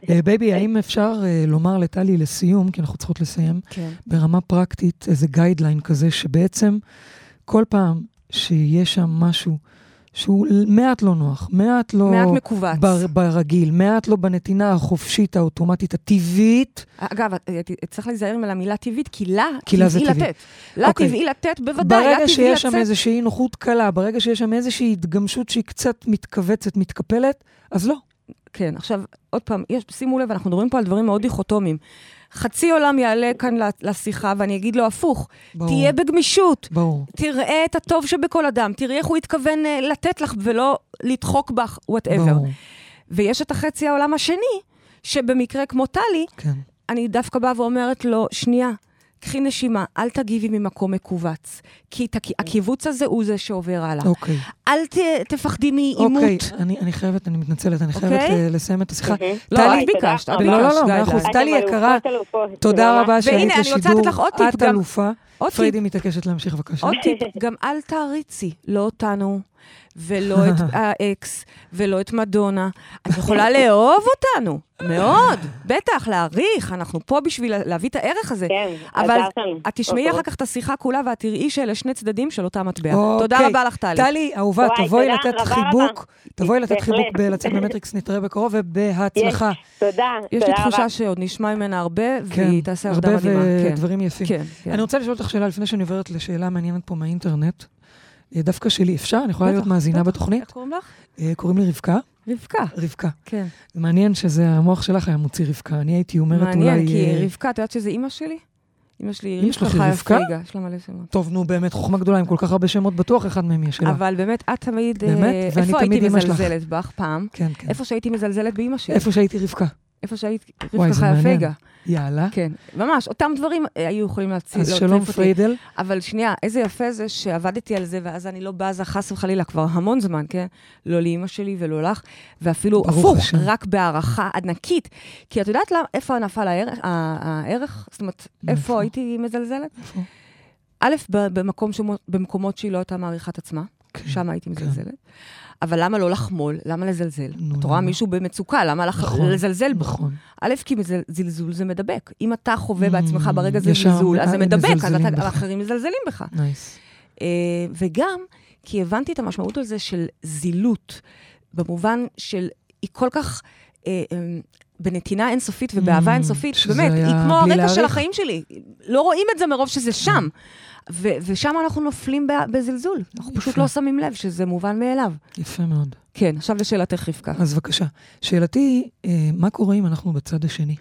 Speaker 2: אה, בייבי, האם אפשר אה, לומר לטלי לסיום, כי אנחנו צריכות לסיים,
Speaker 3: כן.
Speaker 2: ברמה פרקטית איזה גיידליין כזה, שבעצם כל פעם שיש שם משהו שהוא מעט לא נוח, מעט לא...
Speaker 3: מעט מכווץ.
Speaker 2: בר, ברגיל, מעט לא בנתינה החופשית, האוטומטית, הטבעית,
Speaker 3: אגב, את- את- צריך להיזהר מהמילה טבעית, כי לה
Speaker 2: כי לה זה
Speaker 3: טבעי
Speaker 2: טבעי.
Speaker 3: לתת. לה
Speaker 2: אוקיי.
Speaker 3: טבעי לתת, בוודאי, לה
Speaker 2: ברגע
Speaker 3: טבעי
Speaker 2: שיש שם
Speaker 3: לצאת.
Speaker 2: איזושהי נוחות קלה, ברגע שיש שם איזושהי התגמשות שהיא קצת מתכווצת, מתקפלת, אז לא.
Speaker 3: כן, עכשיו, עוד פעם, יש, שימו לב, אנחנו מדברים פה על דברים מאוד דיכוטומיים. חצי עולם יעלה כאן ל- לשיחה, ואני אגיד לו הפוך.
Speaker 2: ברור.
Speaker 3: תהיה בגמישות.
Speaker 2: ברור.
Speaker 3: תראה את הטוב שבכל אדם, תראי איך הוא התכוון אה, לתת לך ולא לדחוק בך, וואטאבר.
Speaker 2: ברור.
Speaker 3: ויש את החצי העולם השני, שבמקרה כמו טלי,
Speaker 2: כן.
Speaker 3: אני דווקא באה ואומרת לו, שנייה, קחי נשימה, אל תגיבי ממקום מכווץ. כי את הכ- הקיבוץ הזה הוא זה שעובר הלאה.
Speaker 2: אוקיי.
Speaker 3: אל ת, תפחדי מעימות.
Speaker 2: אוקיי, אני, אני חייבת, אני מתנצלת, אני חייבת
Speaker 3: אוקיי?
Speaker 2: ל- לסיים את השיחה.
Speaker 4: אוקיי.
Speaker 3: לא,
Speaker 2: טלי,
Speaker 3: את ביקשת, את
Speaker 4: לא,
Speaker 3: ביקשת.
Speaker 2: לא, לא, מאה
Speaker 3: די,
Speaker 2: אחוז.
Speaker 3: די.
Speaker 2: טלי
Speaker 4: אתם
Speaker 2: יקרה,
Speaker 4: אלופות, אלופות.
Speaker 2: תודה
Speaker 4: ממש.
Speaker 2: רבה שעלית
Speaker 3: והנה, אני
Speaker 2: לשידור.
Speaker 3: רוצה לתת לך עוד
Speaker 2: את
Speaker 3: טיפ גם.
Speaker 2: אלופה.
Speaker 3: עוד טיפ.
Speaker 2: פריידי מתעקשת להמשיך, בבקשה.
Speaker 3: עוד טיפ, גם אל תעריצי, לא אותנו, ולא את האקס, ולא את מדונה. את יכולה לאהוב אותנו, מאוד, בטח, להעריך, אנחנו פה בשביל להביא את הערך הזה.
Speaker 4: כן,
Speaker 3: אבל
Speaker 4: עזרת לנו.
Speaker 3: את תשמעי
Speaker 4: אוקיי.
Speaker 3: אחר כך את השיחה כולה, ואת תראי שאלה שני צדדים של אותה מטבע.
Speaker 2: אוקיי.
Speaker 3: תודה רבה לך, טלי.
Speaker 2: טלי, אהובה,
Speaker 4: וואי,
Speaker 2: תבואי
Speaker 4: תודה
Speaker 2: לתת
Speaker 4: רבה
Speaker 2: חיבוק, תבואי לתת
Speaker 4: בהחלט.
Speaker 2: חיבוק בלצאת ממטריקס, נתראה בקרוב, ובהצלחה.
Speaker 4: יש, תודה,
Speaker 3: יש לי
Speaker 4: תודה רבה.
Speaker 3: תחושה שעוד נשמע ממנה הרבה,
Speaker 2: כן,
Speaker 3: והיא תעשה עבודה
Speaker 2: הרבה
Speaker 3: מדהימה. כן.
Speaker 2: ודברים יפים.
Speaker 3: כן, כן.
Speaker 2: אני רוצה לשאול אותך שאלה לפני שאני עוברת לשאלה מעניינת פה מהאינטרנט. אה, דווקא שלי, אפשר? אני יכולה להיות
Speaker 3: בטח,
Speaker 2: מאזינה
Speaker 3: בטח.
Speaker 2: בתוכנית?
Speaker 3: איך קוראים לך?
Speaker 2: אה, קוראים לי רבקה.
Speaker 3: רבקה.
Speaker 2: רבקה.
Speaker 3: כן.
Speaker 2: זה מעניין שזה, המוח שלך היה מוציא רבקה. אני הייתי אומרת אולי...
Speaker 3: מעניין, כי
Speaker 2: אה,
Speaker 3: רבקה, את יודעת שזה אימא שלי? אימא שלי היא
Speaker 2: אמא שלך היא
Speaker 3: חיה
Speaker 2: רבקה?
Speaker 3: פריגה, יש לה מלא שמות.
Speaker 2: טוב, נו, באמת, חוכמה גדולה עם כל כך הרבה שמות, בטוח אחד מהם יהיה שלה.
Speaker 3: אבל באמת, את תמיד...
Speaker 2: באמת?
Speaker 3: אה,
Speaker 2: ואני
Speaker 3: איפה
Speaker 2: תמיד
Speaker 3: הייתי
Speaker 2: אמא שלך.
Speaker 3: מזלזלת בך פעם?
Speaker 2: כן, כן.
Speaker 3: איפה שהייתי מזלזלת באימא שלי.
Speaker 2: איפה שהייתי רבקה.
Speaker 3: איפה שהיית
Speaker 2: וואי,
Speaker 3: רבקה
Speaker 2: זה
Speaker 3: חיה
Speaker 2: מעניין.
Speaker 3: פריגה.
Speaker 2: יאללה.
Speaker 3: כן, ממש, אותם דברים אה, היו יכולים להציל.
Speaker 2: אז
Speaker 3: לא,
Speaker 2: שלום
Speaker 3: להטריף אותי.
Speaker 2: פריידל.
Speaker 3: אבל שנייה, איזה יפה זה שעבדתי על זה, ואז אני לא בזה חס וחלילה כבר המון זמן, כן? לא לאימא שלי ולא לך, ואפילו
Speaker 2: ברוך
Speaker 3: הפוך,
Speaker 2: השם.
Speaker 3: רק בהערכה ענקית. כי את יודעת למה, איפה נפל הערך? ה- הערך? זאת אומרת,
Speaker 2: איפה?
Speaker 3: איפה הייתי מזלזלת?
Speaker 2: לא איפה?
Speaker 3: א', ב- במקום שמו- במקומות שהיא לא הייתה מעריכה את עצמה,
Speaker 2: כן,
Speaker 3: שם הייתי
Speaker 2: כן.
Speaker 3: מזלזלת. אבל למה לא לחמול? למה לזלזל?
Speaker 2: נו,
Speaker 3: את רואה
Speaker 2: למה?
Speaker 3: מישהו במצוקה, למה לח-
Speaker 2: נכון,
Speaker 3: לזלזל בו?
Speaker 2: נכון.
Speaker 3: א', כי מזל- זלזול זה מדבק. אם אתה חווה
Speaker 2: Mm,
Speaker 3: בעצמך ברגע זה
Speaker 2: ישר,
Speaker 3: זלזול, אז זה
Speaker 2: אה,
Speaker 3: מדבק, אז
Speaker 2: מזלזלים
Speaker 3: אתה-
Speaker 2: בך.
Speaker 3: האחרים מזלזלים בך.
Speaker 2: נייס.
Speaker 3: אה, וגם כי הבנתי את המשמעות על זה של זילות, במובן של היא כל כך... אה, אה, בנתינה אינסופית ובאהבה
Speaker 2: Mm,
Speaker 3: אינסופית,
Speaker 2: שזה
Speaker 3: באמת, היא
Speaker 2: היה
Speaker 3: כמו
Speaker 2: בלי
Speaker 3: הרקע של
Speaker 2: להעריך. Mm.
Speaker 3: החיים שלי. לא רואים את זה מרוב שזה שם. ו- ושם אנחנו נופלים ב- בזלזול. אנחנו פשוט
Speaker 2: יפה.
Speaker 3: לא שמים לב שזה מובן מאליו.
Speaker 2: יפה מאוד.
Speaker 3: כן, עכשיו לשאלתך, רבקה.
Speaker 2: אז בבקשה. שאלתי היא, אה, מה קורה אם אנחנו בצד השני?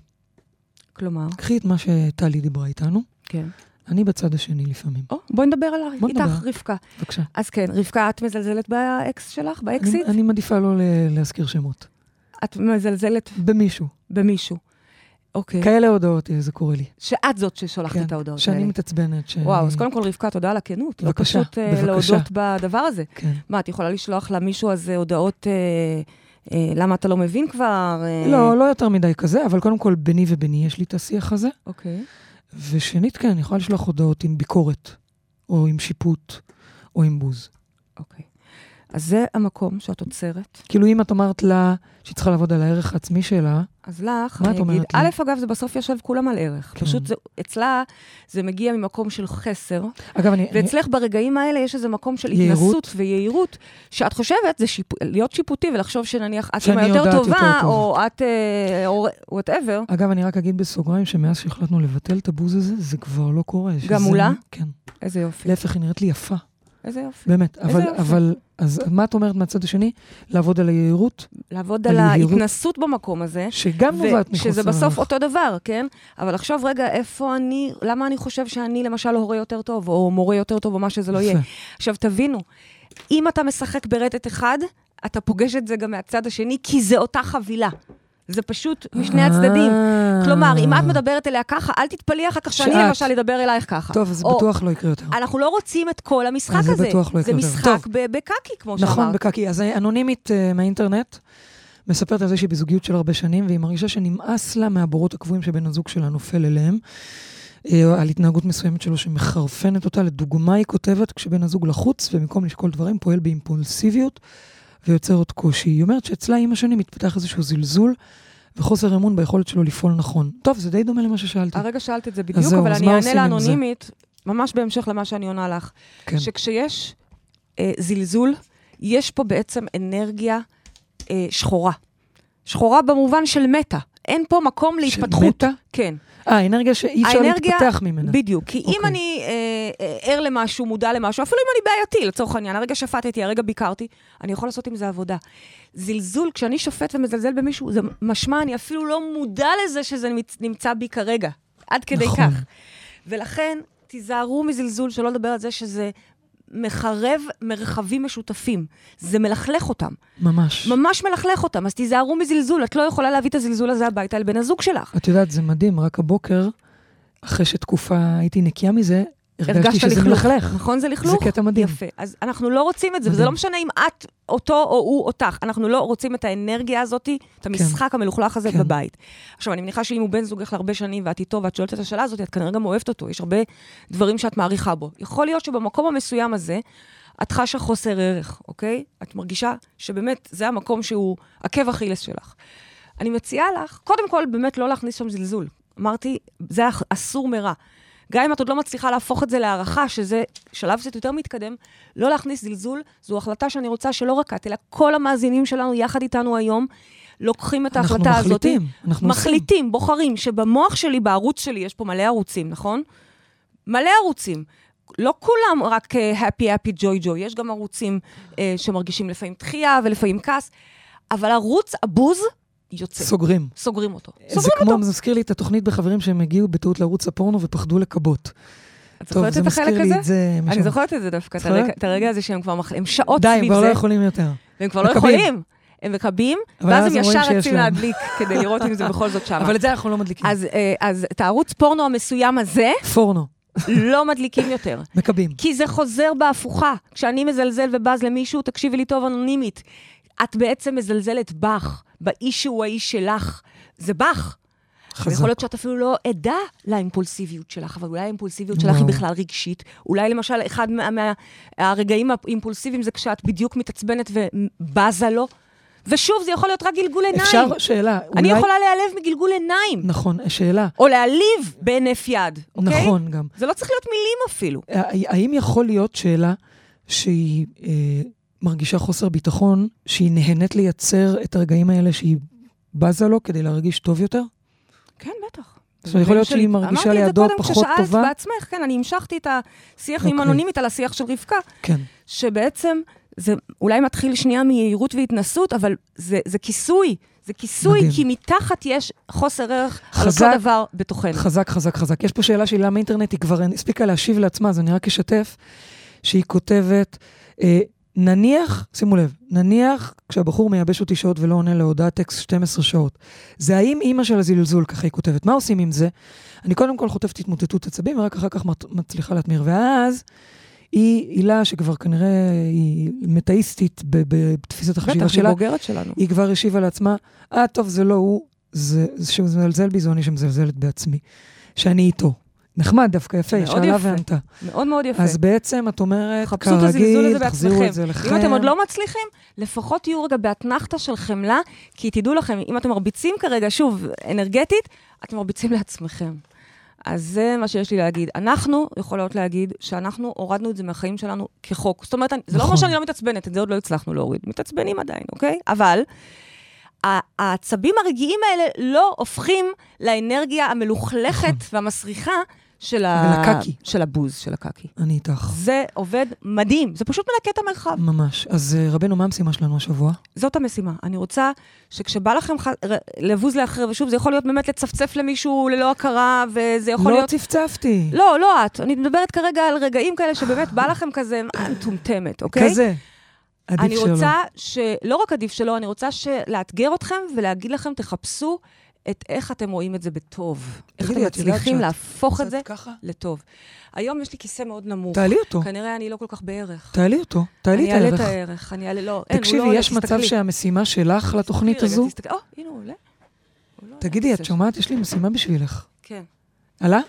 Speaker 3: כלומר,
Speaker 2: קחי את מה שטלי דיברה איתנו,
Speaker 3: כן.
Speaker 2: אני בצד השני לפעמים.
Speaker 3: או, בואי נדבר עליו,
Speaker 2: בואי
Speaker 3: איתך,
Speaker 2: נדבר.
Speaker 3: רבקה.
Speaker 2: בבקשה.
Speaker 3: אז כן, רבקה, את מזלזלת באקס שלך, באקסיט?
Speaker 2: אני- אני מעדיפה לא ל- להזכיר שמות.
Speaker 3: את מזלזלת
Speaker 2: במישהו.
Speaker 3: במישהו. אוקיי.
Speaker 2: כאלה הודעות אה, זה קורה לי.
Speaker 3: שאת זאת ששולחת את ההודעות האלה.
Speaker 2: כן. שאני מתעצבנת. ש-
Speaker 3: וואו, אז קודם כל, רבקה, תודה על הכנות.
Speaker 2: בבקשה,
Speaker 3: לא פשוט אה,
Speaker 2: בבקשה.
Speaker 3: להודות בדבר הזה.
Speaker 2: כן.
Speaker 3: מה, את יכולה לשלוח למישהו הזה הודעות, אה, אה, למה אתה לא מבין כבר? אה,
Speaker 2: לא, לא יותר מדי כזה, אבל קודם כל, ביני וביני יש לי את השיח הזה.
Speaker 3: אוקיי.
Speaker 2: ושנית, כן, אני יכולה לשלוח הודעות עם ביקורת, או עם שיפוט, או עם בוז.
Speaker 3: אוקיי. אז זה המקום שאת עוצרת.
Speaker 2: כאילו, אם את אמרת לה שהיא צריכה לעבוד על הערך העצמי שלה,
Speaker 3: אז לך,
Speaker 2: מה
Speaker 3: אני
Speaker 2: את אומרת
Speaker 3: אגיד,
Speaker 2: לי?
Speaker 3: א', אגב, זה בסוף יושב כולם על ערך.
Speaker 2: כן.
Speaker 3: פשוט זה, אצלה זה מגיע ממקום של חסר,
Speaker 2: אגב, אני... אני-
Speaker 3: ואצלך ברגעים האלה יש איזה מקום של
Speaker 2: יהירות.
Speaker 3: התנסות ויהירות, שאת חושבת, זה שיפ... להיות שיפוטי ולחשוב שנניח את
Speaker 2: שאני
Speaker 3: אימא יותר
Speaker 2: יודעת יותר
Speaker 3: טובה,
Speaker 2: טוב.
Speaker 3: או את, אה, או וואטאבר,
Speaker 2: אגב, אני רק אגיד בסוגריים שמאז שהחלטנו לבטל את הבוז הזה, זה כבר לא קורה. שזה-
Speaker 3: מולה?
Speaker 2: כן.
Speaker 3: איזה יופי,
Speaker 2: להפך, היא נראית לי יפה,
Speaker 3: איזה יופי.
Speaker 2: באמת. אבל,
Speaker 3: יופי.
Speaker 2: אבל, אז מה את אומרת מהצד השני? לעבוד על היהירות,
Speaker 3: לעבוד
Speaker 2: על
Speaker 3: על
Speaker 2: יהירות.
Speaker 3: ההתנסות במקום הזה.
Speaker 2: שגם נובעת מחוסר
Speaker 3: שזה בסוף
Speaker 2: ערך.
Speaker 3: אותו דבר, כן? אבל לחשוב, רגע, איפה אני, למה אני חושב שאני למשל הורה יותר טוב, או מורה יותר טוב, או מה שזה לא יהיה.
Speaker 2: יפה.
Speaker 3: עכשיו, תבינו, אם אתה משחק ברטט אחד, אתה פוגש את זה גם מהצד השני, כי זה אותה חבילה. זה פשוט משני הצדדים.
Speaker 2: אה.
Speaker 3: כלומר, אם את מדברת אליה ככה, אל תתפלאי אחר כך שאני
Speaker 2: שאת.
Speaker 3: למשל אדבר אלייך ככה.
Speaker 2: טוב, אז זה
Speaker 3: או,
Speaker 2: בטוח לא יקרה יותר.
Speaker 3: אנחנו לא רוצים את כל המשחק
Speaker 2: אז זה
Speaker 3: הזה.
Speaker 2: בטוח לא
Speaker 3: זה
Speaker 2: יקרה יותר.
Speaker 3: משחק
Speaker 2: טוב.
Speaker 3: ב- בקקי, כמו שאמרת.
Speaker 2: נכון, בקקי. אז אנונימית אה, מהאינטרנט מספרת על זה שהיא בזוגיות של הרבה שנים, והיא מרגישה שנמאס לה מהבורות הקבועים שבן הזוג שלה נופל אליהם. אה, על התנהגות מסוימת שלו שמחרפנת אותה. לדוגמה, היא כותבת, כשבן הזוג לחוץ, ובמקום לשקול דברים, פועל באימפולסיביות ויוצר עוד קושי. היא אומרת שאצלה עם השנים מתפתח איזשהו זלזול וחוסר אמון ביכולת שלו לפעול נכון. טוב, זה די דומה למה ששאלתי.
Speaker 3: הרגע שאלת את זה בדיוק,
Speaker 2: זהו,
Speaker 3: אבל
Speaker 2: אז
Speaker 3: אני
Speaker 2: מה
Speaker 3: אענה
Speaker 2: עושים עם זה?
Speaker 3: לאנונימית, ממש בהמשך למה שאני עונה לך.
Speaker 2: כן.
Speaker 3: שכשיש אה, זלזול, יש פה בעצם אנרגיה אה, שחורה. שחורה במובן של מתה. אין פה מקום
Speaker 2: של
Speaker 3: להתפתחות.
Speaker 2: מתה?
Speaker 3: כן.
Speaker 2: אה, אנרגיה שאי אפשר
Speaker 3: האנרגיה-
Speaker 2: להתפתח ממנה.
Speaker 3: בדיוק. כי אם
Speaker 2: אוקיי.
Speaker 3: אני אה, אה, ער למשהו, מודע למשהו, אפילו אם אני בעייתי, לצורך העניין, הרגע שפטתי, הרגע ביקרתי, אני יכול לעשות עם זה עבודה. זלזול, כשאני שופט ומזלזל במישהו, זה משמע, אני אפילו לא מודע לזה שזה נמצ- נמצא בי כרגע. עד כדי
Speaker 2: נכון.
Speaker 3: כך. ולכן, תיזהרו מזלזול, שלא לדבר על זה שזה מחרב מרחבים משותפים. זה מלכלך אותם.
Speaker 2: ממש.
Speaker 3: ממש מלכלך אותם. אז תיזהרו מזלזול, את לא יכולה להביא את הזלזול הזה הביתה אל בן הזוג שלך.
Speaker 2: את יודעת, זה מדהים, רק הבוקר, אחרי שתקופה הייתי נקייה מזה, הרגשתי
Speaker 3: הרגשת
Speaker 2: שזה
Speaker 3: לכלוך.
Speaker 2: מלכלך.
Speaker 3: נכון, זה לכלוך?
Speaker 2: זה קטע מדהים.
Speaker 3: יפה. אז אנחנו לא רוצים את זה, וזה
Speaker 2: מדהים.
Speaker 3: לא משנה אם את אותו או הוא אותך. אנחנו לא רוצים את האנרגיה הזאת, את המשחק המלוכלך הזה
Speaker 2: כן.
Speaker 3: בבית. עכשיו, אני מניחה שאם הוא בן זוגך להרבה שנים ואת איתו ואת שואלת את השאלה הזאת, את כנראה גם אוהבת אותו, יש הרבה דברים שאת מעריכה בו. יכול להיות שבמקום המסוים הזה, את חשה חוסר ערך, אוקיי? את מרגישה שבאמת זה המקום שהוא עקב אכילס שלך. אני מציעה לך, קודם כל, באמת לא להכניס שם זלזול. אמרתי, זה אח- אסור מרע. גם אם את עוד לא מצליחה להפוך את זה להערכה, שזה שלב קצת יותר מתקדם, לא להכניס זלזול, זו החלטה שאני רוצה שלא רק את, אלא כל המאזינים שלנו יחד איתנו היום, לוקחים את
Speaker 2: אנחנו
Speaker 3: ההחלטה הזאת.
Speaker 2: מחליטים, אנחנו עושים.
Speaker 3: מחליטים, בוחרים, שבמוח שלי, בערוץ שלי, יש פה מלא ערוצים, נכון? מלא ערוצים. לא כולם רק אה, happy happy joy joy, יש גם ערוצים אה, שמרגישים לפעמים דחייה ולפעמים כעס, אבל ערוץ הבוז יוצא,
Speaker 2: סוגרים.
Speaker 3: סוגרים אותו.
Speaker 2: זה
Speaker 3: סוגרים
Speaker 2: כמו,
Speaker 3: אותו.
Speaker 2: זה מזכיר לי את התוכנית בחברים שהם הגיעו בטעות לערוץ הפורנו ופחדו לכבות.
Speaker 3: את
Speaker 2: טוב,
Speaker 3: זוכרת
Speaker 2: זה
Speaker 3: את החלק
Speaker 2: מזכיר לי
Speaker 3: הזה?
Speaker 2: את זה משם.
Speaker 3: אני זוכרת את זה דווקא, את
Speaker 2: זוכרת?
Speaker 3: הרגע- את הרגע הזה שהם כבר, מח- הם שעות
Speaker 2: די, הם
Speaker 3: סביב
Speaker 2: כבר לא
Speaker 3: זה,
Speaker 2: יכולים יותר.
Speaker 3: והם כבר לא
Speaker 2: מכבים.
Speaker 3: יכולים, הם מכבים,
Speaker 2: אבל
Speaker 3: ואז
Speaker 2: אז
Speaker 3: הם
Speaker 2: הם רואים
Speaker 3: ישר
Speaker 2: שיש
Speaker 3: רצים
Speaker 2: להם.
Speaker 3: להדליק כדי לראות אם זה בכל זאת שמה.
Speaker 2: אבל את זה אנחנו לא מדליקים.
Speaker 3: אז, אה, אז את הערוץ פורנו המסוים הזה
Speaker 2: פורנו,
Speaker 3: לא מדליקים יותר.
Speaker 2: מכבים.
Speaker 3: כי זה חוזר בהפוכה. כשאני מזלזל ובז למישהו, תקשיבי לי טוב אנונימית. את בעצם מזלזלת בך, באיש שהוא האיש שלך. זה בך.
Speaker 2: חזק.
Speaker 3: יכול להיות שאת אפילו לא עדה לאימפולסיביות שלך, אבל אולי האימפולסיביות שלך היא
Speaker 2: וואו.
Speaker 3: בכלל רגשית. אולי למשל אחד מה- מה- מהרגעים האימפולסיביים זה כשאת בדיוק מתעצבנת ובזה לו. ושוב, זה יכול להיות רק גלגול עיניים.
Speaker 2: אפשר, שאלה.
Speaker 3: אני
Speaker 2: אולי-
Speaker 3: יכולה להיעלב מגלגול עיניים.
Speaker 2: נכון, שאלה.
Speaker 3: או להעליב בהינף יד, אוקיי?
Speaker 2: נכון גם.
Speaker 3: זה לא צריך להיות מילים אפילו.
Speaker 2: הא- האם יכול להיות שאלה שהיא אה, מרגישה חוסר ביטחון, שהיא נהנית לייצר את הרגעים האלה שהיא בזה לו כדי להרגיש טוב יותר?
Speaker 3: כן, בטח.
Speaker 2: זאת אומרת, יכול להיות
Speaker 3: שלי.
Speaker 2: שהיא מרגישה לידו פחות
Speaker 3: אמרתי את זה קודם
Speaker 2: טובה?
Speaker 3: כששאלת בעצמך, כן, אני המשכתי את השיח עם
Speaker 2: אוקיי.
Speaker 3: אנונימית על השיח של רבקה,
Speaker 2: כן.
Speaker 3: שבעצם זה אולי מתחיל שנייה מיהירות והתנסות, אבל זה זה כיסוי. זה כיסוי,
Speaker 2: מדהים.
Speaker 3: כי מתחת יש חוסר ערך על
Speaker 2: חזק.
Speaker 3: אותו דבר בתוכנו.
Speaker 2: חזק, חזק, חזק. יש פה שאלה שלי למה אינטרנט, היא כבר הספיקה להשיב לעצמה, אז אני רק אשתף, שהיא כותבת, אה, נניח, שימו לב, נניח כשהבחור מייבש אותי שעות ולא עונה להודעת טקסט 12 שעות, זה האם אימא של הזלזול, ככה היא כותבת, מה עושים עם זה? אני קודם כל חוטפת התמוטטות עצבים, ורק אחר כך מת- מצליחה להתמיר. ואז היא הילה שכבר כנראה היא מטאיסטית ב- בתפיסת החשיבה
Speaker 3: בטח, היא
Speaker 2: שלה,
Speaker 3: בוגרת שלנו.
Speaker 2: היא כבר השיבה לעצמה, אה, טוב, זה לא הוא, זה, זה שהוא מזלזל בי, זו אני שמזלזלת בעצמי, שאני איתו. נחמד דווקא, יפה, היא
Speaker 3: מאוד
Speaker 2: שאלה
Speaker 3: יפה.
Speaker 2: וענתה.
Speaker 3: מאוד מאוד יפה.
Speaker 2: אז בעצם את אומרת,
Speaker 3: חפשו את הזלזול
Speaker 2: כרגיל,
Speaker 3: הזה
Speaker 2: תחזירו
Speaker 3: בעצמכם.
Speaker 2: את זה לכם.
Speaker 3: אם אתם עוד לא מצליחים, לפחות תהיו רגע באתנחתא של חמלה, כי תדעו לכם, אם אתם מרביצים כרגע, שוב, אנרגטית, אתם מרביצים לעצמכם. אז זה מה שיש לי להגיד. אנחנו יכולות להגיד שאנחנו הורדנו את זה מהחיים שלנו כחוק. זאת אומרת, אני- זה לא אומר
Speaker 2: נכון.
Speaker 3: שאני לא מתעצבנת, את זה עוד לא הצלחנו להוריד. מתעצבנים עדיין, אוקיי? אבל ה- העצבים הרגעיים האלה לא הופכים לאנרגיה
Speaker 2: נכון.
Speaker 3: המלוכלכת והמסריחה של, ה...
Speaker 2: ולקקי.
Speaker 3: של הבוז, של הקקי.
Speaker 2: אני איתך.
Speaker 3: זה עובד מדהים, זה פשוט מנקה את המרחב.
Speaker 2: ממש. אז אה, רבנו, מה המשימה שלנו השבוע?
Speaker 3: זאת המשימה. אני רוצה שכשבא לכם ח... ר- לבוז לאחר, ושוב, זה יכול להיות באמת לצפצף למישהו ללא הכרה, וזה יכול
Speaker 2: לא
Speaker 3: להיות...
Speaker 2: צפצפתי.
Speaker 3: לא, לא את. אני מדברת כרגע על רגעים כאלה שבאמת בא לכם כזה "מה, מטומטמת, אוקיי?
Speaker 2: כזה. עדיף
Speaker 3: אני
Speaker 2: שלא.
Speaker 3: רוצה ש... לא רק עדיף שלא, אני רוצה ש... לאתגר אתכם ולהגיד לכם, תחפשו את איך אתם רואים את זה בטוב. איך
Speaker 2: תגידי,
Speaker 3: אתם
Speaker 2: את יודעת
Speaker 3: מצליחים
Speaker 2: שאת
Speaker 3: להפוך את
Speaker 2: קצת
Speaker 3: זה
Speaker 2: ככה?
Speaker 3: לטוב. היום יש לי כיסא מאוד נמוך.
Speaker 2: תעלי אותו.
Speaker 3: כנראה אני לא כל כך בערך.
Speaker 2: תעלי אותו. תעלי
Speaker 3: אני
Speaker 2: את
Speaker 3: אעלה את
Speaker 2: הערך.
Speaker 3: הערך, אני אעלה, לא, אין, הוא לא
Speaker 2: תקשיבי,
Speaker 3: עולה,
Speaker 2: יש מצב
Speaker 3: תסתכלי.
Speaker 2: שהמשימה שלך לתוכנית
Speaker 3: תסתכלי רגע,
Speaker 2: הזו?
Speaker 3: תסתכלי. או, הנה הוא עולה. הוא לא עולה,
Speaker 2: תגידי, את
Speaker 3: הכיסא
Speaker 2: שומעת? יש לי משימה בשבילך.
Speaker 3: שלי. כן.
Speaker 2: עלה?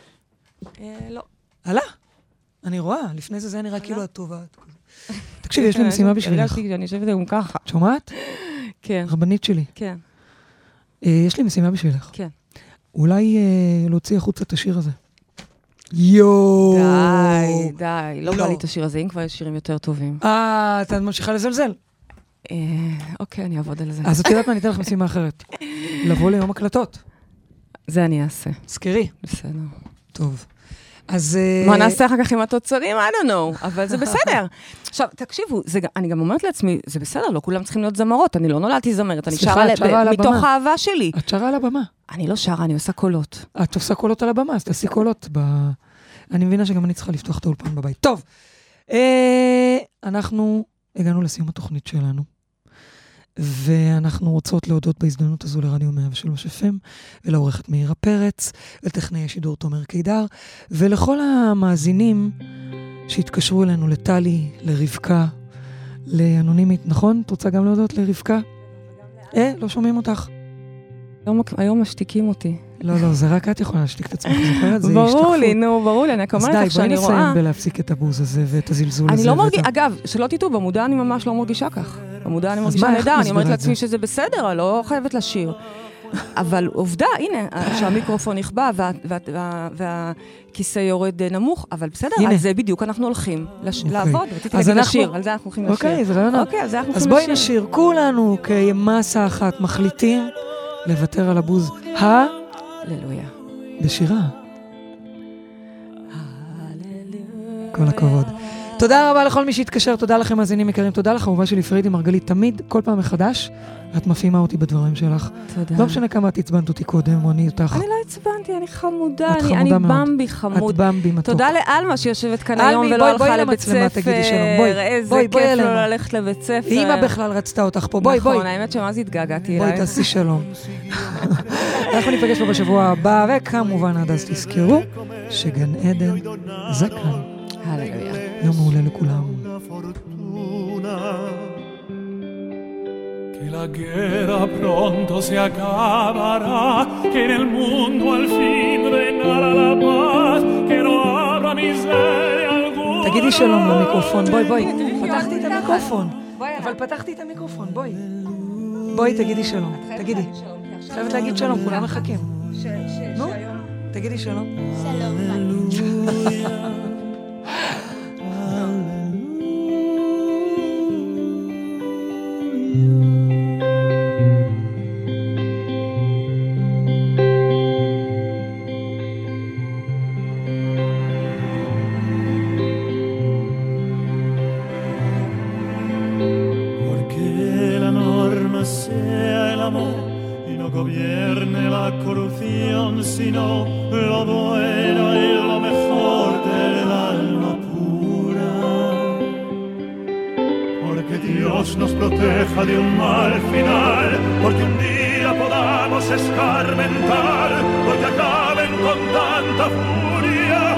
Speaker 3: אה, לא.
Speaker 2: עלה. אני רואה, לפני זה זה היה נראה כאילו את טובה. את כזה. תקשיבי, יש לי
Speaker 3: כן,
Speaker 2: משימה
Speaker 3: אני-
Speaker 2: בשבילך.
Speaker 3: הרגשתי שאני יושבת היום ככה.
Speaker 2: את שומעת?
Speaker 3: כן,
Speaker 2: רבנית שלי,
Speaker 3: כן,
Speaker 2: אה, יש לי משימה בשבילך.
Speaker 3: כן.
Speaker 2: אולי אה, להוציא החוצה את השיר הזה. יואו.
Speaker 3: די, די, לא
Speaker 2: לא.
Speaker 3: בא לי את השיר הזה, אם כבר יש שירים יותר טובים.
Speaker 2: אה, את ממשיכה לזלזל.
Speaker 3: אה, אוקיי, אני אעבוד על זה.
Speaker 2: אז את יודעת מה, אני אתן לך משימה אחרת. לבוא ליום הקלטות.
Speaker 3: זה אני אעשה,
Speaker 2: זכרי.
Speaker 3: בסדר.
Speaker 2: טוב. אז... אה,
Speaker 3: מה נעשה אחר כך עם התוצרים? I don't know, אבל זה בסדר. עכשיו, תקשיבו, זה גם- אני גם אומרת לעצמי, זה בסדר, לא כולם צריכים להיות זמרות, אני לא נולדתי זמרת, אני
Speaker 2: סליחה,
Speaker 3: שרה
Speaker 2: את
Speaker 3: ל-
Speaker 2: שרה על
Speaker 3: ב- מתוך
Speaker 2: הבמה.
Speaker 3: האהבה שלי.
Speaker 2: את שרה על הבמה.
Speaker 3: אני לא שרה, אני עושה קולות.
Speaker 2: את עושה קולות על הבמה, אז תעשי קולות ב... אני מבינה שגם אני צריכה לפתוח את האולפן בבית. טוב, אה, אנחנו הגענו לסיום התוכנית שלנו, ואנחנו רוצות להודות בהזדמנות הזו לרדיו 103 FM, ולעורכת מאירה פרץ, לטכנאי השידור תומר קידר, ולכל המאזינים שהתקשרו אלינו, לטלי, לרבקה, לאנונימית, נכון? את רוצה גם להודות לרבקה? אה, לא שומעים אותך.
Speaker 3: היום- היום משתיקים אותי.
Speaker 2: לא, לא, זה רק את יכולה להשתיק את עצמך, את זוכרת? זה
Speaker 3: ברור
Speaker 2: השתקפות.
Speaker 3: לי, נו, ברור לי, אני רק
Speaker 2: אז
Speaker 3: אומרת
Speaker 2: די,
Speaker 3: לך
Speaker 2: בואי
Speaker 3: שאני
Speaker 2: נסיים
Speaker 3: רואה.
Speaker 2: בלהפסיק את הבוז הזה ואת הזלזול הזה.
Speaker 3: אני לא
Speaker 2: ואת
Speaker 3: מרגישה,
Speaker 2: ה-
Speaker 3: אגב, שלא תטעו, במודע אני ממש לא מרגישה כך. במודע אני
Speaker 2: מה,
Speaker 3: מרגישה
Speaker 2: איך את
Speaker 3: נהדר, אני אומרת
Speaker 2: מסבירה את
Speaker 3: לעצמי
Speaker 2: זה?
Speaker 3: שזה בסדר, אני לא חייבת לשיר. אבל עובדה, הנה, שהמיקרופון נכבה וה- וה- וה- והכיסא יורד אה, נמוך, אבל בסדר,
Speaker 2: הנה.
Speaker 3: על זה בדיוק אנחנו הולכים לש-
Speaker 2: אוקיי.
Speaker 3: לעבוד. רציתי
Speaker 2: אז
Speaker 3: להגיד
Speaker 2: אנחנו-
Speaker 3: לשיר, על זה אנחנו הולכים לשיר.
Speaker 2: אוקיי, זה רעיון.
Speaker 3: אוקיי, אז אנחנו
Speaker 2: אז
Speaker 3: הולכים
Speaker 2: בואי
Speaker 3: לשיר.
Speaker 2: נשיר, כולנו כמסה אחת מחליטים לוותר על הבוז ה...
Speaker 3: הללויה.
Speaker 2: בשירה. כל הכבוד. תודה רבה לכל מי שהתקשר, תודה לכם מאזינים יקרים, תודה לך אהובה שלי פרידי מרגלית, תמיד, כל פעם מחדש, את מפעימה אותי בדברים שלך.
Speaker 3: תודה.
Speaker 2: לא משנה כמה את עצבנת אותי קודם, או אני אותך.
Speaker 3: אני לא עצבנתי, אני חמודה,
Speaker 2: את
Speaker 3: אני-
Speaker 2: חמודה
Speaker 3: אני
Speaker 2: מאוד.
Speaker 3: במבי
Speaker 2: את
Speaker 3: חמוד.
Speaker 2: במבי מתוק.
Speaker 3: תודה לאלמה שיושבת כאן
Speaker 2: אלמי,
Speaker 3: היום ולא
Speaker 2: בואי- בואי
Speaker 3: הלכה לבית
Speaker 2: למצלמה,
Speaker 3: ספר.
Speaker 2: תגידי שלום, בואי.
Speaker 3: איזה
Speaker 2: בואי, בואי
Speaker 3: כיף
Speaker 2: אלינו.
Speaker 3: לא ללכת לבית ספר.
Speaker 2: אימא בכלל רצתה אותך פה, בואי, בואי.
Speaker 3: נכון, האמת שמה זה התגעגעתי
Speaker 2: בואי
Speaker 3: אלייך.
Speaker 2: תעשי שלום. אנחנו ניפגש פה בשבוע הבא, וכמובן עד אז תזכרו שגן עדן זה כאן.
Speaker 3: הללויה.
Speaker 2: יום מעולה לכולם.
Speaker 5: una fortuna. Que la guerra pronto se acabará, que en el mundo al fin reinará la paz, que no habrá miseria alguna.
Speaker 2: תגידי שלום למיקרופון, בואי, בואי. פתחתי את המיקרופון. אבל פתחתי את המיקרופון, בואי. בואי, תגידי שלום. תגידי. חייבת להגיד שלום, כולם מחכים. נו, תגידי שלום.
Speaker 5: Porque la norma sea el amor y no gobierne la corrupción, sino lo bueno y lo mejor del alma pura. Porque Dios nos proteja de un mal final, porque un día podamos escarmentar, porque acaben con tanta furia